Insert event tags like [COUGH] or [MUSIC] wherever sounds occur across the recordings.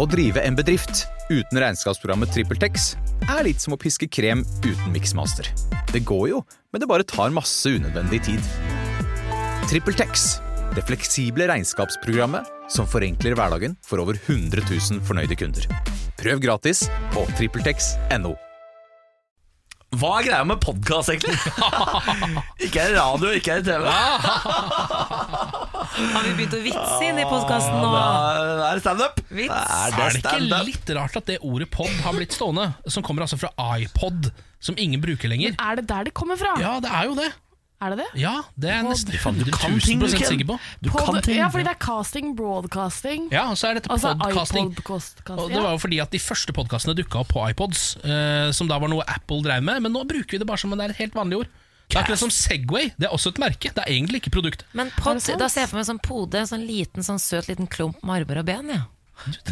Å drive en bedrift uten regnskapsprogrammet TrippelTex er litt som å piske krem uten miksmaster. Det går jo, men det bare tar masse unødvendig tid. TrippelTex det fleksible regnskapsprogrammet som forenkler hverdagen for over 100 000 fornøyde kunder. Prøv gratis på TrippelTex.no. Hva er greia med podkast, [LAUGHS] egentlig? ikke er det radio, ikke er det TV. Har vi begynt å vitse inn i podkasten nå? Da er det standup. Vits. Er det Er det ikke standup? litt rart at det ordet pod har blitt stående? Som kommer altså fra iPod, som ingen bruker lenger. Er det der det kommer fra? Ja, det er jo det. Er det det? Ja, Det er jeg nesten Faen, du 100 kan ting, du, 000 Ken. sikker på. Du Pod- kan ting. Ja, fordi det er casting, broadcasting. Ja, og så er dette Altså podcasting. iPod-casting. Og det var jo fordi at De første podkastene dukka opp på iPods, eh, som da var noe Apple drev med. Men nå bruker vi det bare som om det er et helt vanlig ord. Det er akkurat som Segway. Det er også et merke. Det er egentlig ikke produktet. Men pod, det sant? da ser jeg for meg en sånn pode, en sånn liten, sånn søt liten klump med armer og ben. Ja.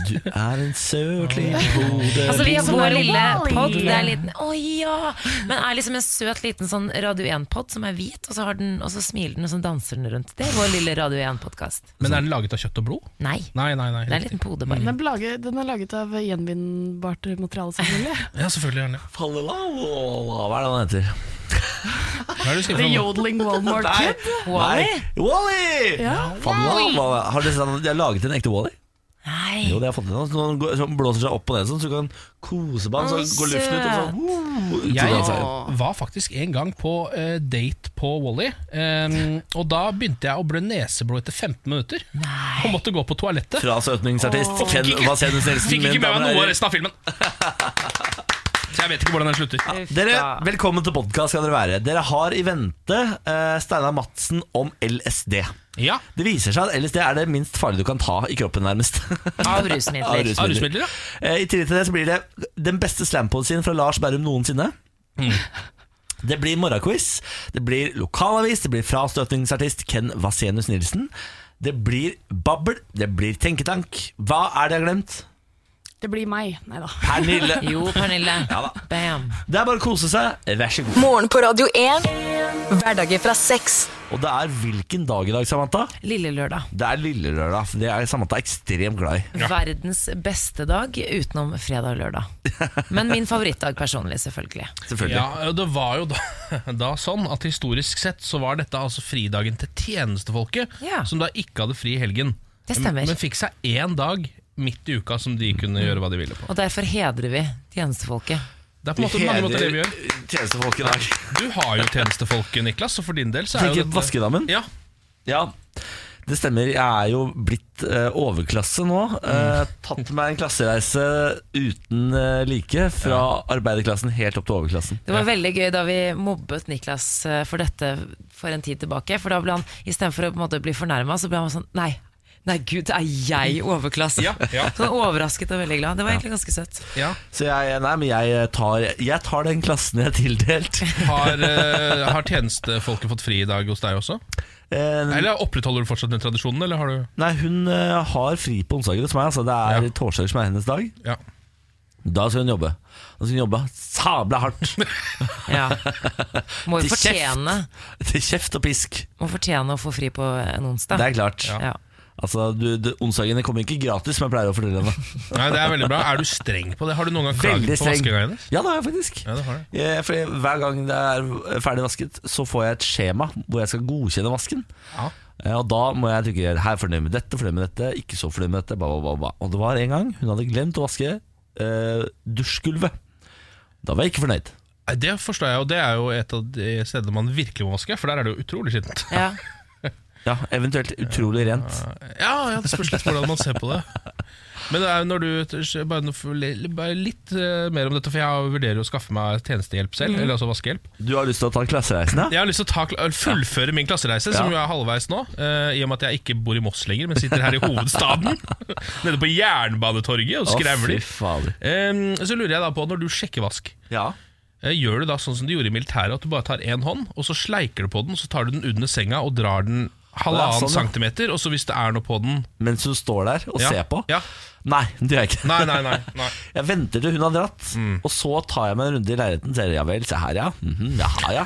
Du er en søt liten sånn- hode Altså vi har Som vår en lille Wall-E. pod, det er liten, å ja! Men er liksom en søt liten sånn Radio 1-pod som er hvit, og så, har den, og så smiler den, og så danser den rundt. Det er vår lille Radio 1-podkast. Sånn. Men er den laget av kjøtt og blod? Nei, Nei, nei, nei. det er en riktig. liten pode bare. Den er, laget, den er laget av gjenvinnbart materiale, selvfølgelig. [LAUGHS] Ja, selvfølgelig er den det. Hva er det han heter? Hva er det du skriver om The nå? Yodeling Walmart Kid. Wally! Wall-E? Wally! Ja. Faen, hva- Har dere sett at de har laget en ekte Wally? Nei. Jo, det har jeg fått med meg. Noen som blåser seg opp og ned sånn, så du kan kose på den, Å, så går luften ut, og så søt. uh, ut av den seg. Jeg var faktisk en gang på eh, date på Wally, ehm, og da begynte jeg å blø neseblod etter 15 minutter. Og måtte gå på toalettet. Fra søtningsartist Ken Vasenus Nilsen. Fikk mine ikke med meg noe damer og av herrer. resten av filmen. Så jeg vet ikke hvordan den slutter. Dere, Velkommen til podkast skal dere være. Dere har i vente eh, Steinar Madsen om LSD. Ja, Det viser seg at LSD er det minst farlige du kan ta i kroppen, nærmest. [LAUGHS] Av Av rusmidler. rusmidler. av rusmidler, ja. Eh, I tillegg til det så blir det den beste slampoesien fra Lars Berrum noensinne. Mm. Det blir morgenquiz, det blir lokalavis, det blir frastøtningsartist Ken Vasenus Nilsen. Det blir babbel, det blir tenketank. Hva er det jeg har glemt? Det blir meg. Nei da. [LAUGHS] Pernille. Jo, Pernille. Bam. Det er bare å kose seg. Vær så god. Morgen på Radio 1. Hverdager fra seks. Og det er hvilken dag i dag, Samantha? Lille lørdag. Det er lille lørdag. Det er Samantha ekstremt glad i. Verdens beste dag utenom fredag og lørdag. Men min favorittdag personlig, selvfølgelig. Selvfølgelig. ja. og Det var jo da, [LAUGHS] da sånn at historisk sett så var dette altså fridagen til tjenestefolket, Ja. som da ikke hadde fri i helgen. Det stemmer. Mm. Men fikk seg én dag midt i uka som de kunne gjøre hva de ville på. Og derfor hedrer vi tjenestefolket. Det er på en måte mange måter det vi gjør. tjenestefolk i dag. Du har jo tjenestefolket, Niklas, og for din del så er jo Tenker dette vaskedammen. Ja, Ja, det stemmer. Jeg er jo blitt eh, overklasse nå. Eh, tatt meg en klassereise uten eh, like fra arbeiderklassen helt opp til overklassen. Det var veldig gøy da vi mobbet Niklas eh, for dette for en tid tilbake. For da ble han, istedenfor å på en måte bli fornærma, så ble han sånn Nei, nei gud, er jeg overklasse? Ja, ja. Sånn overrasket og veldig glad. Det var egentlig ganske søtt. ja. Så jeg, eh, nei, men jeg tar, jeg tar den klassen jeg er tildelt. [LAUGHS] Har, eh, har tjenestefolket fått fri i dag hos deg også? Eh, Eller opprettholder du fortsatt den tradisjonen, eller har du nei, hun eh, har fri på onsdager hos meg. Altså, det er Ja. torsdager som er hennes dag. Ja. Da skal hun jobbe. Da skal hun jobbe sabla [LAUGHS] hardt. Ja. [LAUGHS] Må Til jo fortjene, Til kjeft og pisk. må fortjene å få fri på en onsdag. Det er klart. Ja. Altså, du, du, onsdagene kommer ikke gratis, som jeg pleier å fortelle [LAUGHS] henne. Nei, det er veldig bra. Er du streng på det? Har du noen gang klaget Veldig på streng. vaskinga hennes? Ja, det har jeg faktisk. Ja, det har du. Eh, Fordi Hver gang det er ferdig vasket, så får jeg et skjema hvor jeg skal godkjenne vasken. Ja. Eh, Og da må jeg trykke her er fornøyd med dette, fornøyd med dette, ikke så fornøyd med dette. Bla, bla, bla, bla. Og det var en gang hun hadde glemt å vaske eh, dusjgulvet. Da var jeg ikke fornøyd. Nei, Det forstår jeg, og det er jo et av de stedene man virkelig må vaske, for der er det jo utrolig skittent. Ja. Ja, Eventuelt utrolig rent. Ja, ja, det spørs litt hvordan man ser på det. Men det er jo når du bare, nå får le- bare litt eh, mer om dette, for jeg vurderer jo å skaffe meg tjenestehjelp selv, Mm. eller altså vaskehjelp. Du har lyst til å ta klassereisen, ja? Jeg har lyst til å ta, kla- fullføre min klassereise, som jo er halvveis nå. eh, I og med at jeg ikke bor i Moss lenger, men sitter her i hovedstaden. [LAUGHS] nede på Jernbanetorget og Å, fy skravler. fader. Em, så lurer jeg da på, når du sjekker vask, Ja. eh, gjør du da sånn som du gjorde i militæret, at du bare tar én hånd, og så sleiker du på den, så tar du den under senga og drar den halvannen Ja, sånn, ja. centimeter, og så hvis det er noe på den mens du står der og Ja, ser på. ja. Nei, det gjør jeg ikke. Nei, nei, nei, Mm. nei. [LAUGHS] Jeg venter til hun har dratt, og så tar jeg meg en runde i leiligheten. Ser, ja vel, se her, ja. Mhm, jaha, ja.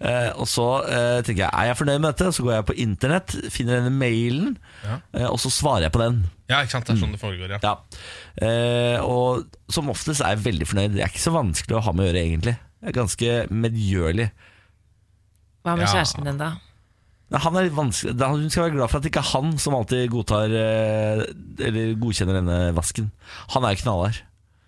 Eh, og så eh, tenker jeg er jeg fornøyd med dette, så går jeg på internett, finner denne mailen, eh, og så svarer jeg på den. Ja, ikke sant, det er sånn det foregår, ja. Ja. Eh, og som oftest er jeg veldig fornøyd. Det er ikke så vanskelig å ha med å gjøre, egentlig. Jeg er ganske medgjørlig. Hva med Ja. kjæresten din, da? Nei, Han er litt vanskelig da- Hun skal være glad for at det ikke er han som alltid godtar eh, Eller godkjenner denne vasken. Han er jo knallhard.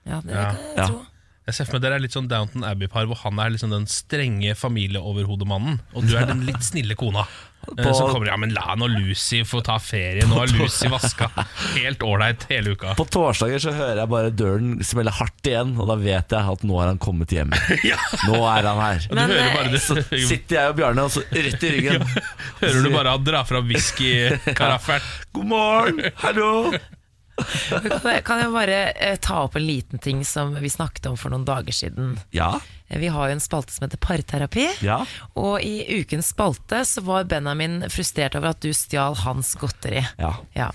Ja, det Ja. kan jeg Ja. tro. Jeg ser for meg dere er litt sånn Downton Abbey-par, hvor han er liksom den strenge familieoverhodemannen, og du er den litt snille kona. [LAUGHS] eh, På- Som kommer ja, men la nå Lucy få ta ferie, nå har Lucy vaska helt ålreit hele uka. På torsdager så hører jeg bare døren smelle hardt igjen, og da vet jeg at nå har han kommet hjem. Ja, Nå er han her. du Men, hører eh, bare Så [LAUGHS] det. sitter jeg og Bjarne og så rett i ryggen. Hører du bare han drar [LAUGHS] fra whiskykaraffelen. God morgen, hallo. Kan jeg- Kan jeg bare eh, ta opp en liten ting som vi snakket om for noen dager siden? Ja, Eh, Vi har jo en spalte som heter Parterapi. ja. Og i ukens spalte så var Benjamin frustrert over at du stjal hans godteri. ja. Ja.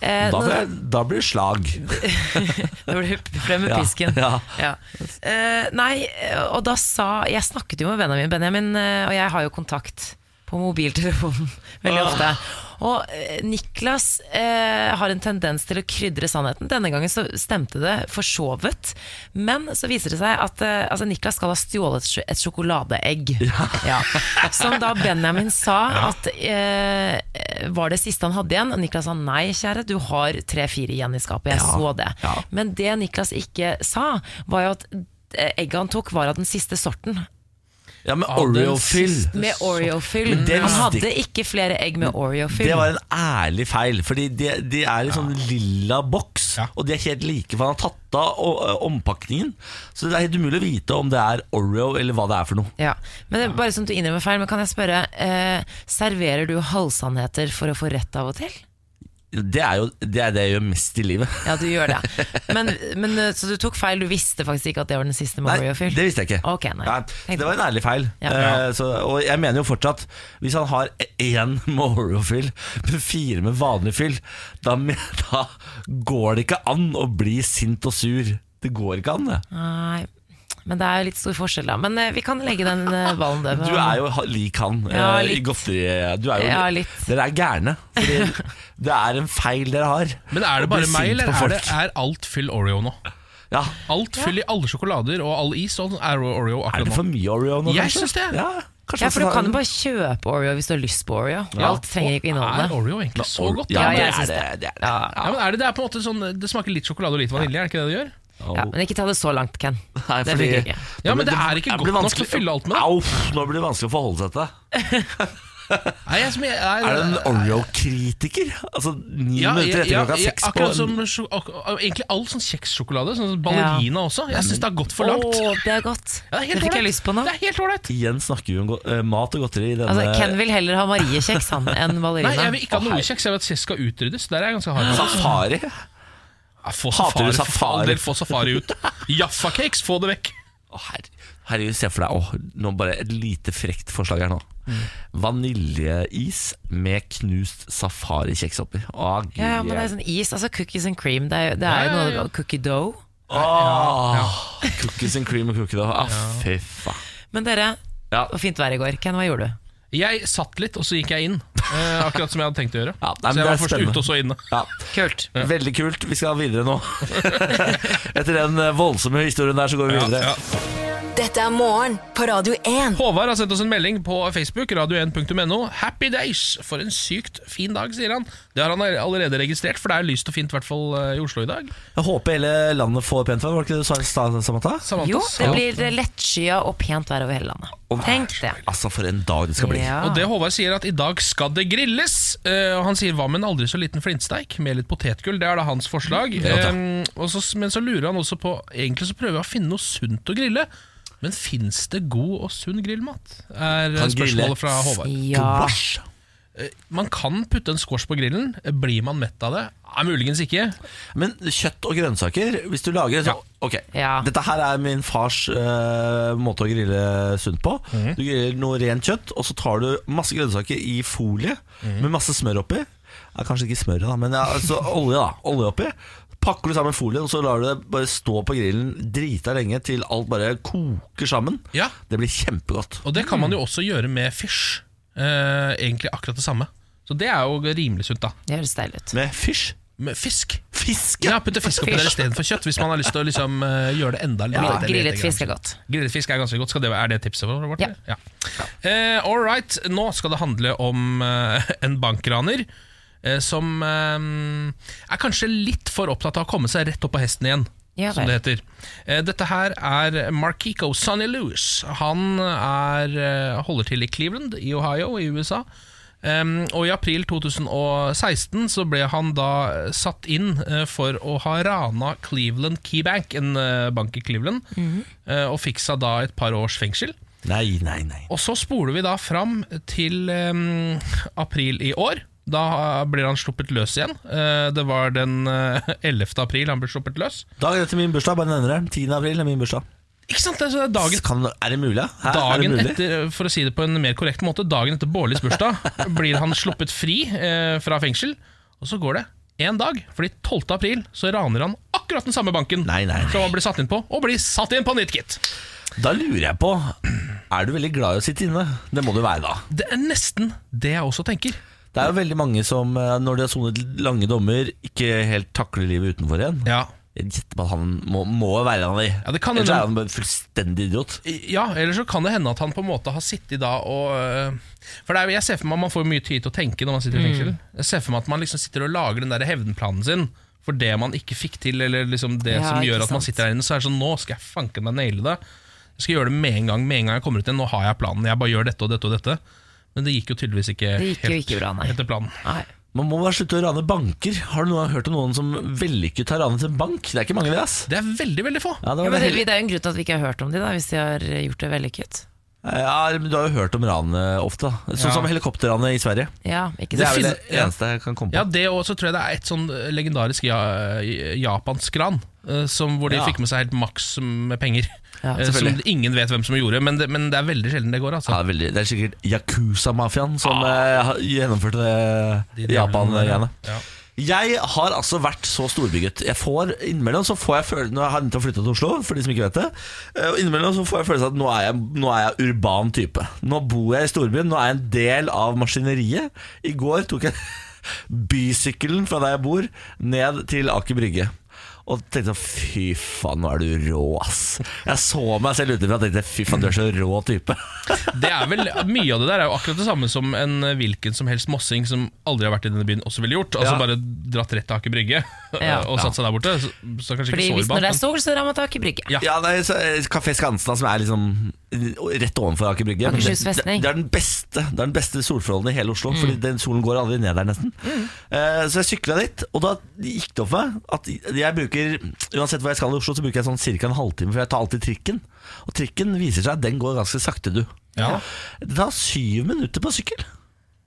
Eh, Da, nå- blir jeg, da blir det slag. Da ble [LAUGHS] du frem med Ja, pisken. ja. Ja. Eh, nei, og da sa Jeg snakket jo med Benjamin. Benjamin eh, og jeg har jo kontakt på mobiltelefonen [LAUGHS] veldig ofte. Og eh, Niklas eh, har en tendens til å krydre sannheten. Denne gangen så stemte det for så vidt. Men så viser det seg at eh, altså Niklas skal ha stjålet sj- et sjokoladeegg. Ja. Som da Benjamin sa [LAUGHS] at eh, var det siste han hadde igjen. Og Niklas sa nei, kjære, du har tre-fire igjen i skapet. Jeg Ja. så det. Ja. Men det Niklas ikke sa, var jo at eh, egget han tok, var av den siste sorten. Ja, med den Oreo-fyll. siste- Med Oreo-fyll. Men det Han visste hadde ikke flere egg med Oreo-fyll. Det var en ærlig feil, Fordi de, de er litt sånn lilla boks, Ja. og de er helt like, for han har tatt av o- ø, ompakningen. Så det er helt umulig å vite om det er Oreo eller hva det er for noe. Ja. Men det er bare sånn at du innrømmer feil, men kan jeg spørre, eh, serverer du halvsannheter for å få rett av og til? Det er jo det, er det jeg gjør mest i livet. Ja, du gjør det. Men, men eh, så du tok feil, du visste faktisk ikke at det var den siste med Nei, Oreo-fyll? det visste jeg ikke. Ok, nei. det var en ærlig feil. Ja. Eh, så, og jeg mener jo fortsatt Hvis han har én [LAUGHS] med Oreo-fyll, men fire med vanlig fyll, da, me- [LAUGHS] da går det ikke an å bli sint og sur. Det går ikke an, det. Nei, men det er jo litt stor forskjell da. Men eh, vi kan legge den eh, ballen død. Du er jo ha- lik han Ja, eh, i litt. godteri. Du er jo, Ja, litt. Dere er gærne. [LAUGHS] Fordi det er en feil dere har. Men er det Å bli bare meg, sint eller på er, det, folk. er alt fyll Oreo nå? Ja. Alt fyll i alle sjokolader og all is og er Oreo Er det akkurat nå. for mye Oreo nå, Jeg kanskje? synes det. Ja, kanskje Ja, for du også- kan jo bare kjøpe Oreo hvis du har lyst på Oreo. Alt trenger ikke Er inneholde det. Oreo egentlig så godt? Ja, Ja, det jeg er synes det. det, er det. Ja, men er det, det er på en måte sånn Det smaker litt sjokolade og litt vanilje, er det ikke det det gjør? Ja, men ikke ta det så langt, Ken. Nei, Det fordi- funker ikke. Ja, men det blir- er ikke godt blir nok vanskelig- å fylle alt med det. Au, nå blir det vanskelig å forholde seg til det. Nei, jeg, som jeg, Er det en Oreo-kritiker? Altså, Ni Ja, minutter ja, etter ja, klokka ja, seks på akkurat som sjo- ak egentlig all sånn kjekssjokolade, sånn som ballerina også. Jeg syns det har gått for Å, langt. det er godt. Ja, det er det helt fikk jeg ålreit. lyst på nå. Det er helt ålreit. Igjen snakker vi om go- eh, mat og godteri i denne Altså, Ken vil heller ha Marie-kjeks han enn Nei, ballerina. jeg vil ikke ha noe kjeks. Jeg vil at kjeks skal utryddes. Der er jeg ganske hard. Safari? Ja, få Hater safari, du for all safari? del, få safari [LAUGHS] ut. Jaffa-cakes, få det vekk. Å, herre- Herregud, se for deg åh, nå bare Et lite frekt forslag her nå. Mm. Vaniljeis med knust safarikjeks oppi. Å, gud. Ja, ja, men det er sånn is, altså cookies and cream. Det er, jo- det er jo Ja, ja, noe ja. cookie dough. Åh, Cookies and cream og cookie dough. Ah, fy faen. Men dere, Ja. det var fint vær i går. Ken, hva gjorde du? Jeg satt litt, og så gikk jeg inn. Eh, akkurat som jeg hadde tenkt å gjøre. Ja, så nei, men jeg det er var først spennende. ute og så inne. Ja. Kult. Veldig kult. Vi skal videre nå. [LAUGHS] Etter den eh, voldsomme historien der, så går vi Ja, videre. ja. Dette er morgen på Radio 1. Håvard har sendt oss en melding på Facebook, radio1.no. Happy days! For en sykt fin dag, sier han. Det har han allerede registrert, for det er lyst og fint, i hvert fall eh, i Oslo i dag. Jeg håper hele landet får pent vær. Var det ikke det du sa, Sa- Samantha? Samantha, Jo, det ja. blir lettskya og pent vær over hele landet. Tenk det. Altså, for en dag det skal bli. Ja. Og det Håvard sier at i dag skal det grilles. Eh, og han sier hva med en aldri så liten flintsteik med litt potetgull? Det er da hans forslag. ja. Eh, og så, men så lurer han også på Egentlig så prøver jeg å finne noe sunt å grille. Men fins det god og sunn grillmat? Er Kan grille spørsmålet fra Håvard. Ja. Gouache. eh, man kan putte en squash på grillen. Blir man mett av det? Nei, muligens ikke. Men kjøtt og grønnsaker, hvis du lager så, Ok, Ja. dette her er min fars eh, måte å grille sunt på. Mhm. Du griller noe rent kjøtt, og så tar du masse grønnsaker i folie Mhm. med masse smør oppi. Ja, kanskje ikke smør, da, men ja, [LAUGHS] altså, olje, da. Olje oppi. Pakker du sammen folien, og så lar du det bare stå på grillen drita lenge til alt bare koker sammen. Ja. Det blir kjempegodt. Og det kan Mm. man jo også gjøre med fysj. Eh, egentlig akkurat det samme. Så det er jo rimelig sunt, da. Det høres deilig ut. Med fish. Med fisk. Fisk, Ja, putte fisk oppi der istedenfor kjøtt, hvis man har lyst til å liksom, eh, gjøre det enda litt. Grill- Grillet fisk er godt. Grillet fisk er ganske godt. Skal det, er det tipset vårt? Ja. ja. Eh, all right, nå skal det handle om eh, en bankraner eh, som eh, er kanskje litt for opptatt av å komme seg rett opp på hesten igjen. Ja som det heter. Eh, dette her er Markiko Sonny Lewis. Han er, eh, holder til i Cleveland i Ohio i USA. Em, og I april 2016 så ble han da satt inn eh, for å ha rana Cleveland Key Bank, en eh, bank i Cleveland, eh, og fikk seg da et par års fengsel. Nei, nei, nei. Og så spoler vi da fram til em, april i år. Da eh, blir han sluppet løs igjen. Eh, det var den eh, 11. april han ble sluppet løs. Dagen etter min bursdag, bare nevner det. 10. april er min bursdag. Ikke sant? Det er så det er dagen Kan, er det mulig? Hæ? er det Dagen mulig? etter, for å si det på en mer korrekt måte Dagen etter Bårlis bursdag Blir han sluppet fri eh, fra fengsel Og så går det en dag Fordi 12. april så raner han akkurat den samme banken Nei, nei, nei. Som han ble satt inn på Og blir satt inn på nytt gitt Da lurer jeg på Er du veldig glad i å sitte inne? Det må du være da Det er nesten det jeg også tenker Det er jo veldig mange som eh, når de har sonet lange dommer Ikke helt takler livet utenfor igjen Ja, Jeg gjetter på at han må, må være en av de Ja, det kan Ellers hende. er han bare fullstendig idiot ja eller så kan det hende at han på en måte har sittet da og eh, For det er, jo- jeg ser for meg at man får mye tid til å tenke når man sitter i fengsel Mm. Jeg ser for meg at man liksom sitter og lager den der hevnplanen sin for det man ikke fikk til, eller liksom det Ja, som gjør ikke at man sant. sitter der inne, så er det sånn Nå skal jeg fanken meg naile det. Jeg skal gjøre det med en gang. Med en gang jeg kommer ut igjen. Nå har jeg planen. Jeg bare gjør dette og dette og dette. Men det gikk jo tydeligvis ikke Det gikk jo ikke bra, nei. etter planen. Nei. Man må bare slutte å rane banker Har du noen, hørt om noen som vellykket har ranet en bank? Det er ikke mange det ass Det er veldig, veldig få. ja, det Ja, var men det det, hele- det er jo en grunn til at vi ikke har hørt om de da, hvis de har gjort det vellykket. ja, men du har jo hørt om ranet ofte da. Sånn Ja. som helikopterranet i Sverige Ja, ikke Det er sant? vel det finnes- ja. eneste jeg kan komme på Ja, det og så tror jeg det er et sånn legendarisk ja, japansk ran. eh, Som, hvor de Ja. fikk med seg helt maks med penger. Ja, Eh, som selvfølgelig. ingen vet hvem som gjorde, men det, men det er veldig sjelden det går. Ja, Altså. Ah. veldig, det er sikkert Yakuza-mafiaen som eh, har- gjennomførte De det djevlene Japan-greiene. der, ja. Jeg har altså vært så storbygutt. Jeg får Innimellom så får jeg føle Når jeg har nettopp flytta til Oslo, for de som ikke vet det. eh, og Innimellom så får jeg følelsen av at nå er jeg, nå er jeg urban type. Nå bor jeg i storbyen, nå er jeg en del av maskineriet. I går tok jeg [LAUGHS] bysykkelen fra der jeg bor, ned til Aker Brygge. Og tenkte sånn, fy faen, nå er du rå, ass. Jeg så meg selv utenfra og tenkte fy faen, du er så rå type. [LAUGHS] Det er vel, Mye av det der er jo akkurat det samme som en eh, hvilken som helst mossing som aldri har vært i denne byen, også ville gjort. Altså Ja. Bare dratt rett til Aker Brygge Ja. [LAUGHS] og satt seg der borte. Så, så kanskje Fordi ikke så hvis når det urbant. er sol, så rammer man tak i brygge. Ja. Ja, nei, så, eh, Café Skansen da, som er liksom eh, rett ovenfor Aker Brygge. Men Akershus det, det, festning. det er den beste Det er den beste solforholdene i hele Oslo, Mm. Fordi den solen går aldri ned der, nesten. Eh, så jeg sykla dit, og da gikk det opp for meg at jeg bruker Uansett hvor jeg skal i Oslo, så bruker jeg sånn ca. en halvtime, for jeg tar alltid trikken. Og trikken viser seg at den går ganske sakte, du. Ja. Det tar syv minutter på sykkel.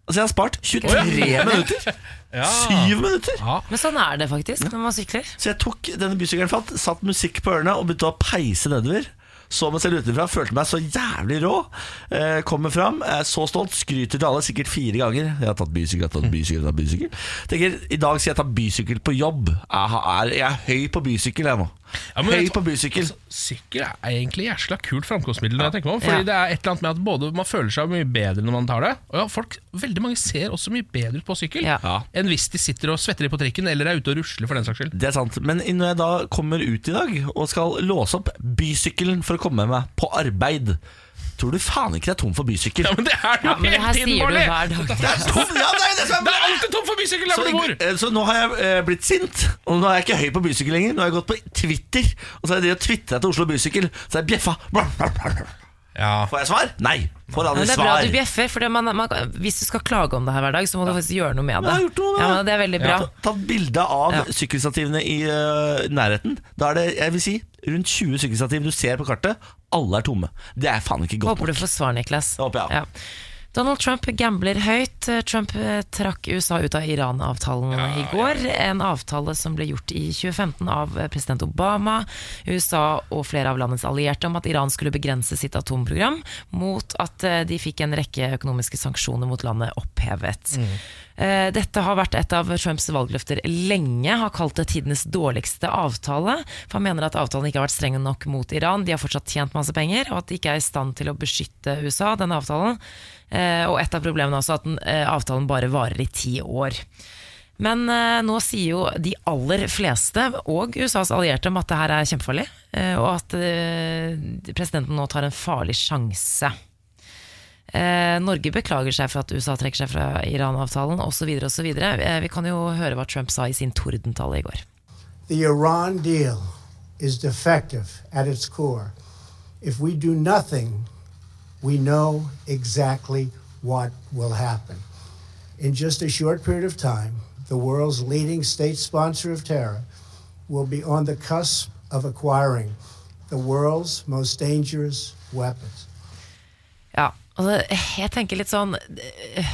Altså, jeg har spart 23 Oi. minutter! [LAUGHS] Ja. Syv minutter! Ja. Men sånn er det faktisk når man sykler. Så jeg tok denne bysykkelen fatt, satt musikk på ørene og begynte å peise nedover. Så meg selv utenfra, følte meg så jævlig rå. Eh, kommer fram, er så stolt, skryter til alle sikkert fire ganger. Jeg har tatt bysykkel, jeg har tatt bysykkel, jeg har tatt bysykkel. Tenker, I dag skal jeg ta bysykkel på jobb. Jeg, har- er, jeg er høy på bysykkel, jeg nå. Ja, men høy vet du- på bysykkel. Altså, sykkel er egentlig jæsla kult framkomstmiddel. når jeg tenker meg om, Fordi Ja. det er et eller annet med at både Man føler seg mye bedre når man tar det. Og ja, folk, Veldig mange ser også mye bedre ut på sykkel Ja. Ja. enn hvis de sitter og svetter litt på trikken eller er ute og rusler. for den saks skyld Det er sant, men når jeg da kommer ut i dag og skal låse opp bysykkelen for å komme meg på arbeid, tror du faen ikke det er tom for bysykkel? Ja, men Det er jo Ja, men det helt her sier du innbarlig! hver dag. Det er tom, ja, det er jo det som er Det er alltid tomt for bysykkel der Så, hvor du bor! eh, så nå har jeg eh, blitt sint, og nå er jeg ikke høy på bysykkel lenger. Nå har jeg gått på Twitter, og så har jeg drevet og tvitra til Oslo Bysykkel. Så har jeg bjeffa. Ja. Får jeg svar? Nei. Får Men aldri det er bra svar. du bjeffer, for det man, man, hvis du skal klage om det her hver dag, så må du faktisk gjøre noe med Jeg det. har gjort noe med ja, det. men det er veldig bra. Ja. Tatt bilde av Ja. sykkelstativene i eh, nærheten. Da er det jeg vil si, rundt 20 sykkelstativ du ser på kartet. Alle er tomme. Det er faen ikke godt. Håper du får svar, Niklas. Det håper jeg. Ja. Donald Trump gambler høyt. Trump eh, trakk USA ut av Iran-avtalen i går. En avtale som ble gjort i 2015 av eh, president Obama, USA og flere av landets allierte om at Iran skulle begrense sitt atomprogram, mot at eh, de fikk en rekke økonomiske sanksjoner mot landet opphevet. Mm. Eh, Dette har vært et av Trumps valgløfter lenge, har kalt det tidenes dårligste avtale. For han mener at avtalen ikke har vært streng nok mot Iran, de har fortsatt tjent masse penger, og at de ikke er i stand til å beskytte USA, denne avtalen. Eh, Og et av problemene er også at den, eh, avtalen bare varer i ti år. Men eh, nå sier jo de aller fleste, og USAs allierte, om at det her er kjempefarlig, eh, og at eh, presidenten nå tar en farlig sjanse. Eh, Norge beklager seg for at USA trekker seg fra Iran-avtalen osv. Eh, vi kan jo høre hva Trump sa i sin tordentale i går. The Iran deal is defective at its core. If we do nothing, we know exactly what will happen. In just a short period of time, the world's leading state sponsor of terror will be on the cusp of acquiring the world's most dangerous weapons. Ja, altså, jeg tenker litt sånn eh,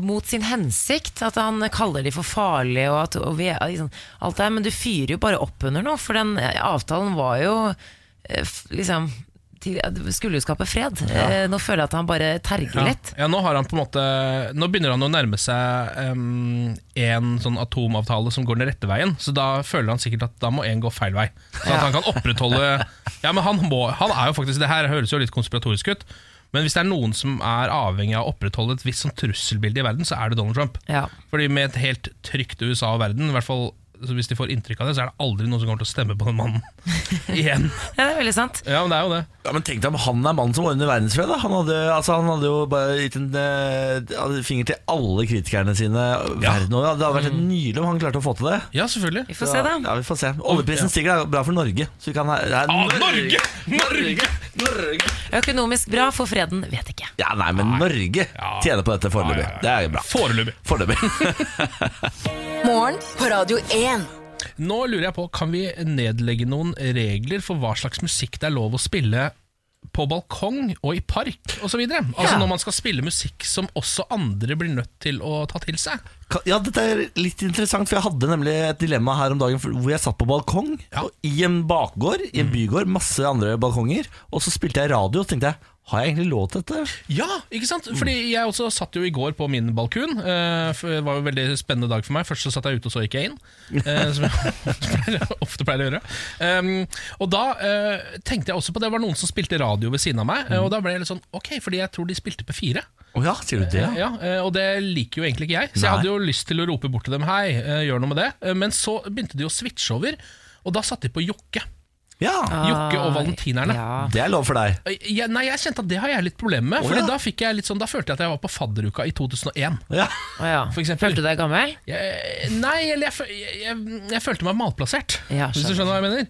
mot sin hensikt, at han kaller de for farlige og, at, og vi, liksom, alt det her, men du fyrer jo bare opp under noe, for den eh, avtalen var jo eh, f- liksom til, skulle jo skape fred. Eh, Nå føler jeg at han bare terger litt. Ja, nå har han på en måte Nå begynner han å nærme seg em, en sånn atomavtale som går den rette veien, så da føler han sikkert at da må en gå feil vei. Så at han kan opprettholde Ja, men han må Han er jo faktisk Det her høres jo litt konspiratorisk ut, men hvis det er noen som er avhengig av å opprettholde et visst sånn trusselbilde i verden, så er det Donald Trump. Ja. Fordi med et helt trygt USA og verden, i hvert fall så hvis de får inntrykk av det, så er det aldri noen som kommer til å stemme på den [LAUGHS] mannen igjen. ja, det er veldig sant. Ja, men det er jo det. Ja, men Tenk deg om han er mannen som ordner verdensfred. da. Han hadde, altså, han hadde jo bare gitt en eh, hadde finger til alle kritikerne sine verden over. Det hadde vært Mm. helt nydelig om han klarte å få til det. Ja, selvfølgelig. Vi får se, da. Ja, vi får se. Oljeprisen stiger, det er bra for Norge. Så vi kan ha, det er Ah, Norge! Norge! Økonomisk bra for freden, vet ikke. Ja, nei, men Norge tjener på dette foreløpig. Ja, ja, ja. Det er bra. Foreløpig. Foreløpig. [LAUGHS] Morgen på Radio 1. Nå lurer jeg på, kan vi nedlegge noen regler for hva slags musikk det er lov å spille på balkong og i park osv.? Altså Ja. når man skal spille musikk som også andre blir nødt til å ta til seg. Ka- Ja, dette er litt interessant, for jeg hadde nemlig et dilemma her om dagen for- hvor jeg satt på balkong og i en bakgård, i en bygård, masse andre balkonger, og så spilte jeg radio, og så tenkte jeg, har jeg egentlig lov til dette? Ja, ikke sant? Fordi jeg også satt jo i går på min balkun. eh, for Det var jo en veldig spennende dag for meg. Først så satt jeg ute, og så gikk jeg inn. eh, Som jeg [LAUGHS] pleier- ofte pleier å gjøre. Um, Og da eh, tenkte jeg også på det. Det var noen som spilte radio ved siden av meg. eh, Og da ble jeg litt sånn ok, fordi jeg tror de spilte på fire. Å ja, sier du det? Ja, eh, Og det liker jo egentlig ikke jeg, så Nei. jeg hadde jo lyst til å rope bort til dem hei, eh, gjør noe med det. Eh, Men så begynte de å switche over, og da satt de på Jokke. Ja, Jokke og Valentinerne. Ah, Ja. det er lov for deg. Eh, Jeg, nei, jeg kjente at det har jeg litt problemer med, Å, Fordi ja. da, fikk jeg litt sånn, da følte jeg at jeg var på fadderuka i 2001. Ja. Å, ja. For eksempel. Ah. Følte du deg gammel? Jeg, eh, nei, eller jeg, fø- jeg, jeg, jeg følte meg malplassert, Ja, hvis du skjønner. skjønner hva jeg mener.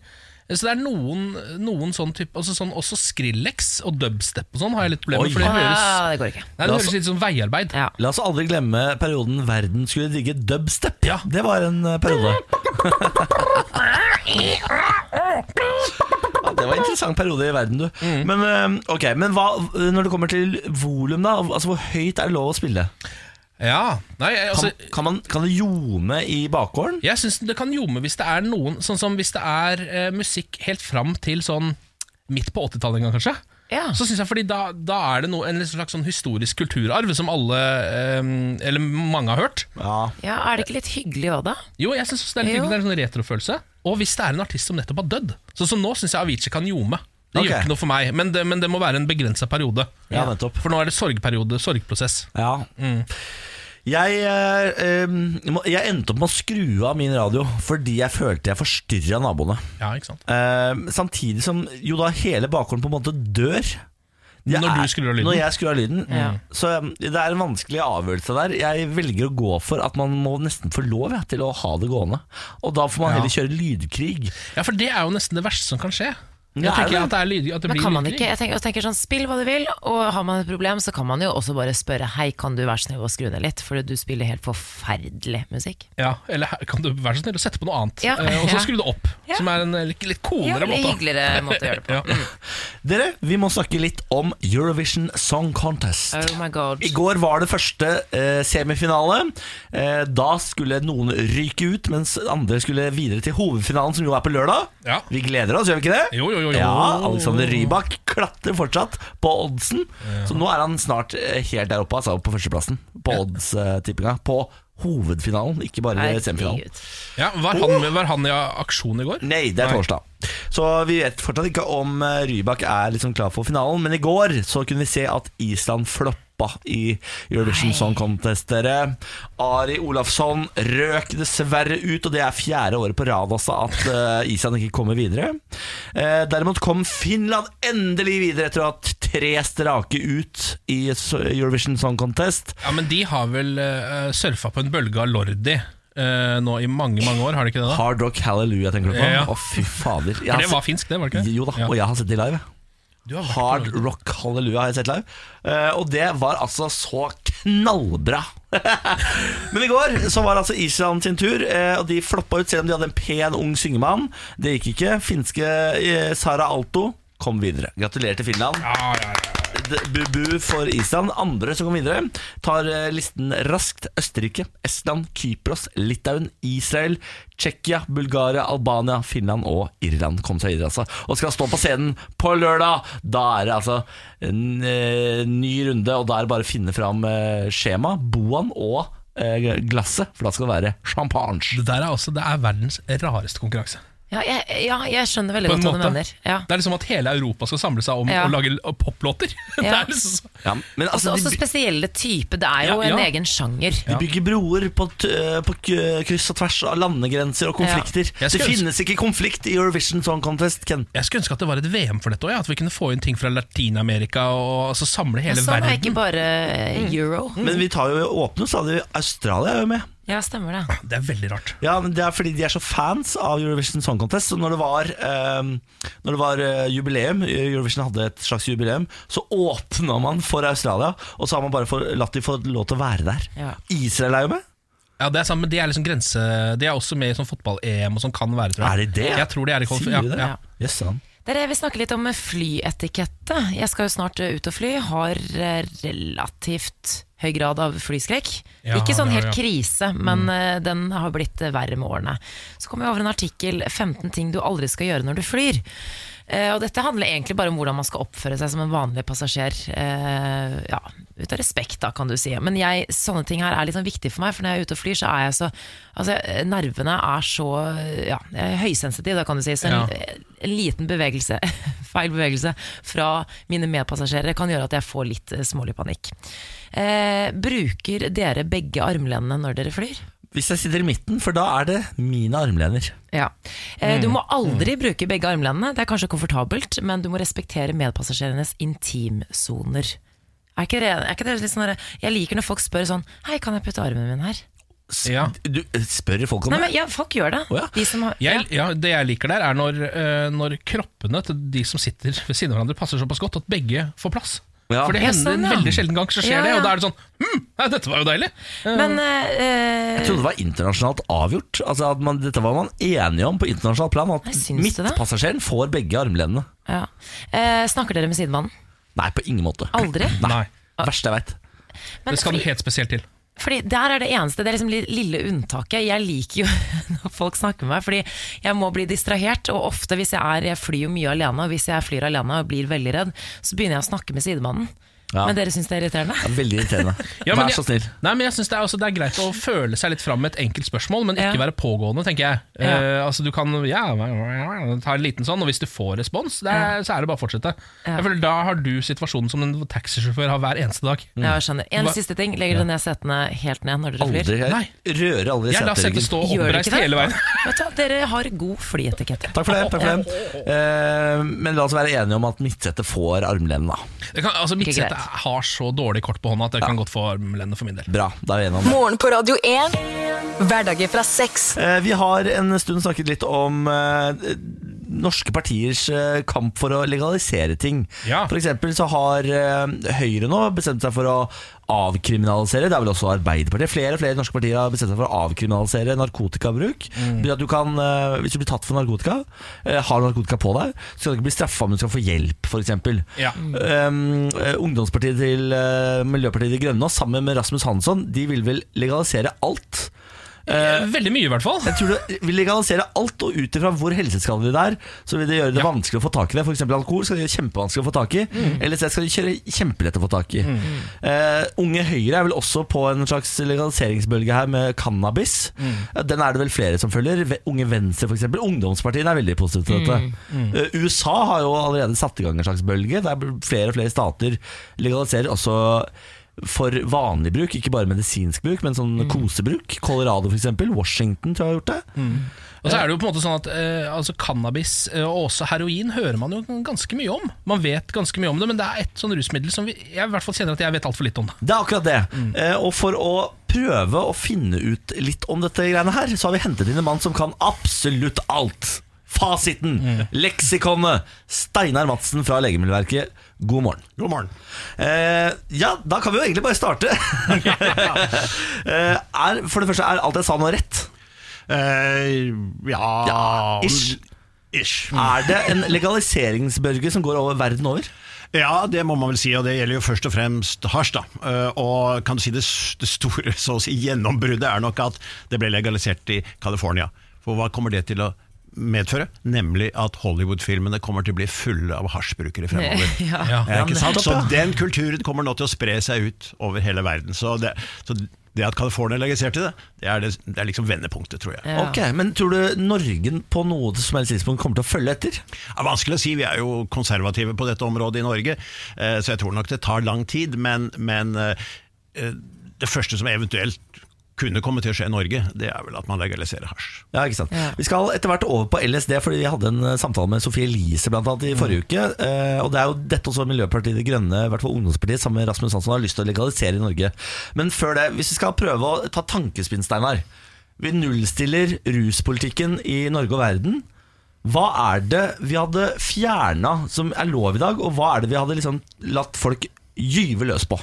Så det er noen, noen sånn type altså sånn, Også Skrillex og dubstep og sånn har jeg litt problemer Oi. med. For det Å, høres, ja, det går ikke. nei, det høres litt som veiarbeid. Ja. La oss aldri glemme perioden verden skulle digge dubstep. Ja. Det var en eh, periode. Ja, Det var en interessant periode i verden, du. Men, eh, ok, men hva, når det kommer til volum, da? Altså, hvor høyt er det lov å spille? Ja, nei, jeg- Kan, altså, kan, man, kan det ljome i bakgården? Jeg syns det kan ljome hvis det er noen Sånn som hvis det er eh, musikk helt fram til sånn midt på 80-tallet en gang, kanskje. Ja. Så synes jeg, fordi da, da er det noe, en slags sånn historisk kulturarv som alle, eh, eller mange har hørt. Ja. ja, Er det ikke litt hyggelig òg, da? Jo, jeg synes også det er litt Jo. hyggelig, det er en sånn retrofølelse. Og hvis det er en artist som nettopp har dødd. Sånn som nå syns jeg Avicii kan ljome. Det Ok. gjør ikke noe for meg, men det, men det må være en begrensa periode. Ja, nettopp. For nå er det sorgperiode, sorgprosess. Ja. Jeg, eh, eh, må- jeg endte opp med å skru av min radio fordi jeg følte jeg forstyrra naboene. Ja, ikke sant? Eh, samtidig som jo da hele bakgården på en måte dør. Jeg Når du er- skrur av lyden. Når jeg skrur av lyden. Ja. Så um, det er en vanskelig avgjørelse der. Jeg velger å gå for at man må nesten få lov ja, til å ha det gående. Og da får man Ja. heller kjøre lydkrig. Ja, for det er jo nesten det verste som kan skje. Da tenker jeg at det, er lyd, at det Men blir kan man lydkrig. ikke, jeg tenker, jeg tenker sånn, Spill hva du vil, og har man et problem, så kan man jo også bare spørre Hei, kan du være snill og skru ned litt, for du spiller helt forferdelig musikk. Ja, eller her- kan du være så snill å sette på noe annet, Ja. eh, og så Ja. skru det opp. Ja. Som er en eh, litt, litt Ja, coolere litt måte. hyggeligere måte å gjøre det på. [LAUGHS] Mm. Ja. Dere, vi må snakke litt om Eurovision Song Contest. Oh my god. I går var det første eh, semifinale. Eh, da skulle noen ryke ut, mens andre skulle videre til hovedfinalen, som jo er på lørdag. Ja. Vi gleder oss, gjør vi ikke det? Jo, jo, jo, jo. Ja, Alexander Rybak klatrer fortsatt på oddsen. Så nå er han snart eh, helt der oppe, altså på førsteplassen på oddstippinga. På hovedfinalen, ikke bare semifinalen. Herregud. Ja, var, Oh. han, var han i aksjon i går? Nei, det er torsdag. Så vi vet fortsatt ikke om eh, Rybak er liksom klar for finalen, men i går så kunne vi se at Island floppa i Eurovision Song Contest, dere. Ari Olafsson røk dessverre ut, og det er fjerde året på rad altså at eh, Island ikke kommer videre. Eh, Derimot kom Finland endelig videre etter å ha hatt tre strake ut i s- Eurovision Song Contest. Ja, men de har vel eh, surfa på en bølge av Lordi eh, nå i mange, mange år, har de ikke det? da? Hard Rock Hallelujah, tenker du på? Å, Ja. fy fader. Jeg For har det var finsk, det, var det sett- ikke? Jo da, Ja. og jeg har sett de live. jeg. Du har vært på Hard Lordi. Rock Hallelujah har jeg sett live. Eh, og det var altså så knallbra. [LAUGHS] Men i går så var altså Island sin tur, eh, og de floppa ut selv om de hadde en pen, ung syngemann. Det gikk ikke. Finske eh, Sara Alto kom videre. Gratulerer til Finland. Ja, ja, ja. D- Bubu for Island. Andre som kom videre, tar eh, listen raskt. Østerrike, Estland, Kypros, Litauen, Israel, Tsjekkia, Bulgaria, Albania, Finland og Irland kom seg videre. Altså. Og skal stå på scenen på lørdag. Da er det altså en eh, ny runde, og da er det bare å finne fram eh, skjema, boaen og eh, glasset, for da skal det være champagne. Det der er også det er verdens rareste konkurranse. Ja, jeg, ja, jeg skjønner veldig På en godt hva du måte. mener. Ja. Det er liksom at hele Europa skal samle seg om Ja. å lage l- poplåter. [LAUGHS] Det Ja. er liksom så- Ja, men Også, altså, også de, by- spesielle type. Det er jo Ja, ja. en egen sjanger. de bygger broer på, t eh, på k- kryss og tvers av landegrenser og konflikter. Ja. Jeg Det skulle ønske- finnes ikke konflikt i Eurovision Song Contest, Ken. Jeg skulle ønske at det var et VM for dette òg, ja. at vi kunne få inn ting fra Latin-Amerika og altså, samle hele Sånn er ikke verden. Mm. bare euro. Men vi tar jo åpne stadig. Australia er jo med. Ja, stemmer det. Det er veldig rart. Ja, men Det er fordi de er så fans av Eurovision Song Contest. Så når det var, eh, når det var eh, jubileum, Eurovision hadde et slags jubileum, så åpna man for Australia. Og så har man bare for, latt de få lov til å være der. Ja. Israel er jo med. Ja, det er sant, men De er liksom grense De er også med i sånn fotball-EM og sånn, kan være, tror jeg. Er de det? Jeg tror de er i kvalif- Sier du det? Ja, ja. Yes, sann. Dere, Jeg vil snakke litt om flyetikette. Jeg skal jo snart eh, ut og fly. Har eh, relativt høy grad av flyskrekk. Ja, Mm. Ikke sånn det har helt jeg. krise, men eh, den har blitt eh, verre med årene. Så kom jeg over en artikkel 15 ting du aldri skal gjøre når du flyr. Eh, og dette handler egentlig bare om hvordan man skal oppføre seg som en vanlig passasjer. Eh, ja, ut av respekt, da, kan du si. Men jeg, sånne ting her er litt sånn viktig for meg, for når jeg er ute og flyr, så er jeg så Altså, nervene er så ja, jeg er høysensitiv, da, kan du si. Så en, eh, en liten bevegelse, [LAUGHS] feil bevegelse, fra mine medpassasjerer kan gjøre at jeg får litt eh, smålig panikk. Eh, bruker dere begge armlenene når dere flyr? Hvis jeg sitter i midten, for da er det mine armlener. Ja. Eh, Du må aldri bruke begge armlenene. Det er kanskje komfortabelt, men du må respektere medpassasjerenes intimsoner. Er ikke det, er ikke det litt sånn der- Jeg liker når folk spør sånn Hei, kan jeg putte armen min her? S- Ja. Du eh, spør folk om Nei, det? men ja, folk gjør det. Å ja. De som har, Jeg, ja, det jeg liker der, er når, eh, når kroppene til de som sitter ved siden av hverandre, passer såpass godt at begge får plass. Ja. For det Ja, hender sånn, en ja. veldig sjelden gang så skjer Ja, det, og ja. da er det sånn Hm, nei, dette var jo deilig! ja. Men eh, Jeg trodde det var internasjonalt avgjort. Altså at man, Dette var man enige om på internasjonalt plan. At Nei, syns du det? midtpassasjeren får begge armlenene. ja. eh, Snakker dere med sidemannen? Nei, på ingen måte. Aldri? Nei. Verste jeg veit. Men Det skal fordi- du helt spesielt til. Fordi Der er det eneste, det er liksom li- lille unntaket. Jeg liker jo [LAUGHS] når folk snakker med meg, fordi jeg må bli distrahert. Og ofte hvis jeg er Jeg flyr jo mye alene, og hvis jeg flyr alene og blir veldig redd, så begynner jeg å snakke med sidemannen. Ja. Men dere syns det er irriterende? Det er Veldig irriterende. [LAUGHS] Ja, men Vær så snill. Jeg, nei, men jeg synes det, er, også- det er greit å føle seg litt fram med et enkelt spørsmål, men ikke Ja. være pågående, tenker jeg. Ja. Eh, altså Du kan ja, ta en liten sånn, og hvis du får respons, det er, så er det bare å fortsette. Jeg føler Da har du situasjonen som en taxisjåfør har hver eneste dag. Ja, jeg skjønner. En Hva- siste ting. Legger dere ned setene helt ned når dere Aldri, flyr? jeg Nei. rører aldri Jeg lar setet seteryggen. stå Gjør dere oppreist ikke det? hele veien. [LAUGHS] Vet du hva, Dere har god flyetikette. Takk for det. takk for det Eh, Men la oss være enige om at midtsetet får armlenen, da. Det kan, altså Ikke Midtsetet greit. har så dårlig kort på hånda at jeg kan godt få armlenet for min del. Bra, da er vi enige om det. Morgen på Radio 1. Hverdager fra seks. Eh, Vi har en stund snakket litt om eh, norske partiers eh, kamp for å legalisere ting. Ja. For eksempel så har eh, Høyre nå bestemt seg for å avkriminalisere, det er vel også Arbeiderpartiet, flere og flere norske partier har bestemt seg for å avkriminalisere narkotikabruk. Mm. Det betyr At du kan, eh, hvis du blir tatt for narkotika, eh, har narkotika på deg, så skal du ikke bli straffa, men du skal få hjelp, f.eks. Ja. Um, eh, ungdomspartiet til eh, Miljøpartiet De Grønne, og sammen med Rasmus Hansson, de vil vel legalisere alt. Eh, Veldig mye, i hvert fall. Jeg tror det vil legalisere alt, og ut ifra hvor helseskadelig det er, så vil det gjøre det vanskelig å få tak i det. F.eks. alkohol skal det gjøre kjempevanskelig å få tak i. LSD skal det kjøre kjempelett å få tak i. Eh, unge Høyre er vel også på en slags legaliseringsbølge her med cannabis. Eh, Den er det vel flere som følger. Ve- Unge Venstre, f.eks. Ungdomspartiene er veldig positive til dette. Eh, USA har jo allerede satt i gang en slags bølge, der flere og flere stater legaliserer også for vanlig bruk, ikke bare medisinsk bruk, men sånn kosebruk. Colorado f.eks., Washington tror jeg har gjort det. Og så er det jo på en måte sånn at eh, altså Cannabis eh, og også heroin hører man jo ganske mye om. Man vet ganske mye om det, men det er et sånn rusmiddel som vi, jeg i hvert fall kjenner at jeg vet altfor litt om. det Det er akkurat det. Eh, og for å prøve å finne ut litt om dette greiene her, så har vi hentet inn en mann som kan absolutt alt. Fasiten, leksikonet, Steinar Madsen fra Legemiddelverket. God morgen. God morgen. Eh, ja, da kan vi jo egentlig bare starte. eh, er, for det første, er alt jeg sa nå rett? Eh, ja, Ja, ish. Ish. Er det en legaliseringsbølge som går over verden over? Ja, det må man vel si, og det gjelder jo først og fremst hasj. da. Eh, Og kan du si det, s- det store [LAUGHS] så å si, gjennombruddet er nok at det ble legalisert i California. For hva kommer det til å medføre? Nemlig at Hollywood-filmene kommer til å bli fulle av hasjbrukere fremover. [LAUGHS] [LAUGHS] Ja. Ja. Ja, ikke sant? Så nettopp, den kulturen kommer nå til å spre seg ut over hele verden. Så det, så det at California legaliserte det, det er, det, det er liksom vendepunktet, tror jeg. Ja. Ok, Men tror du Norge på noe som helst tidspunkt kommer til å følge etter? Det er vanskelig å si, vi er jo konservative på dette området i Norge, eh, så jeg tror nok det tar lang tid. Men, men eh, eh, det første som eventuelt kunne komme til å skje i Norge, det er vel at man legaliserer hasj. [LAUGHS] Ja, ikke sant Ja. Vi skal etter hvert over på LSD, fordi vi hadde en eh, samtale med Sofie Elise blant annet i forrige uke. eh, Og det er jo dette også Miljøpartiet De Grønne, i hvert fall Ungdomspartiet, sammen med Rasmus Hansson, har lyst til å legalisere i Norge. Men før det, hvis vi skal prøve å ta tankespinn, Steinar. Vi nullstiller ruspolitikken i Norge og verden. Hva er det vi hadde fjerna som er lov i dag, og hva er det vi hadde liksom latt folk gyve løs på?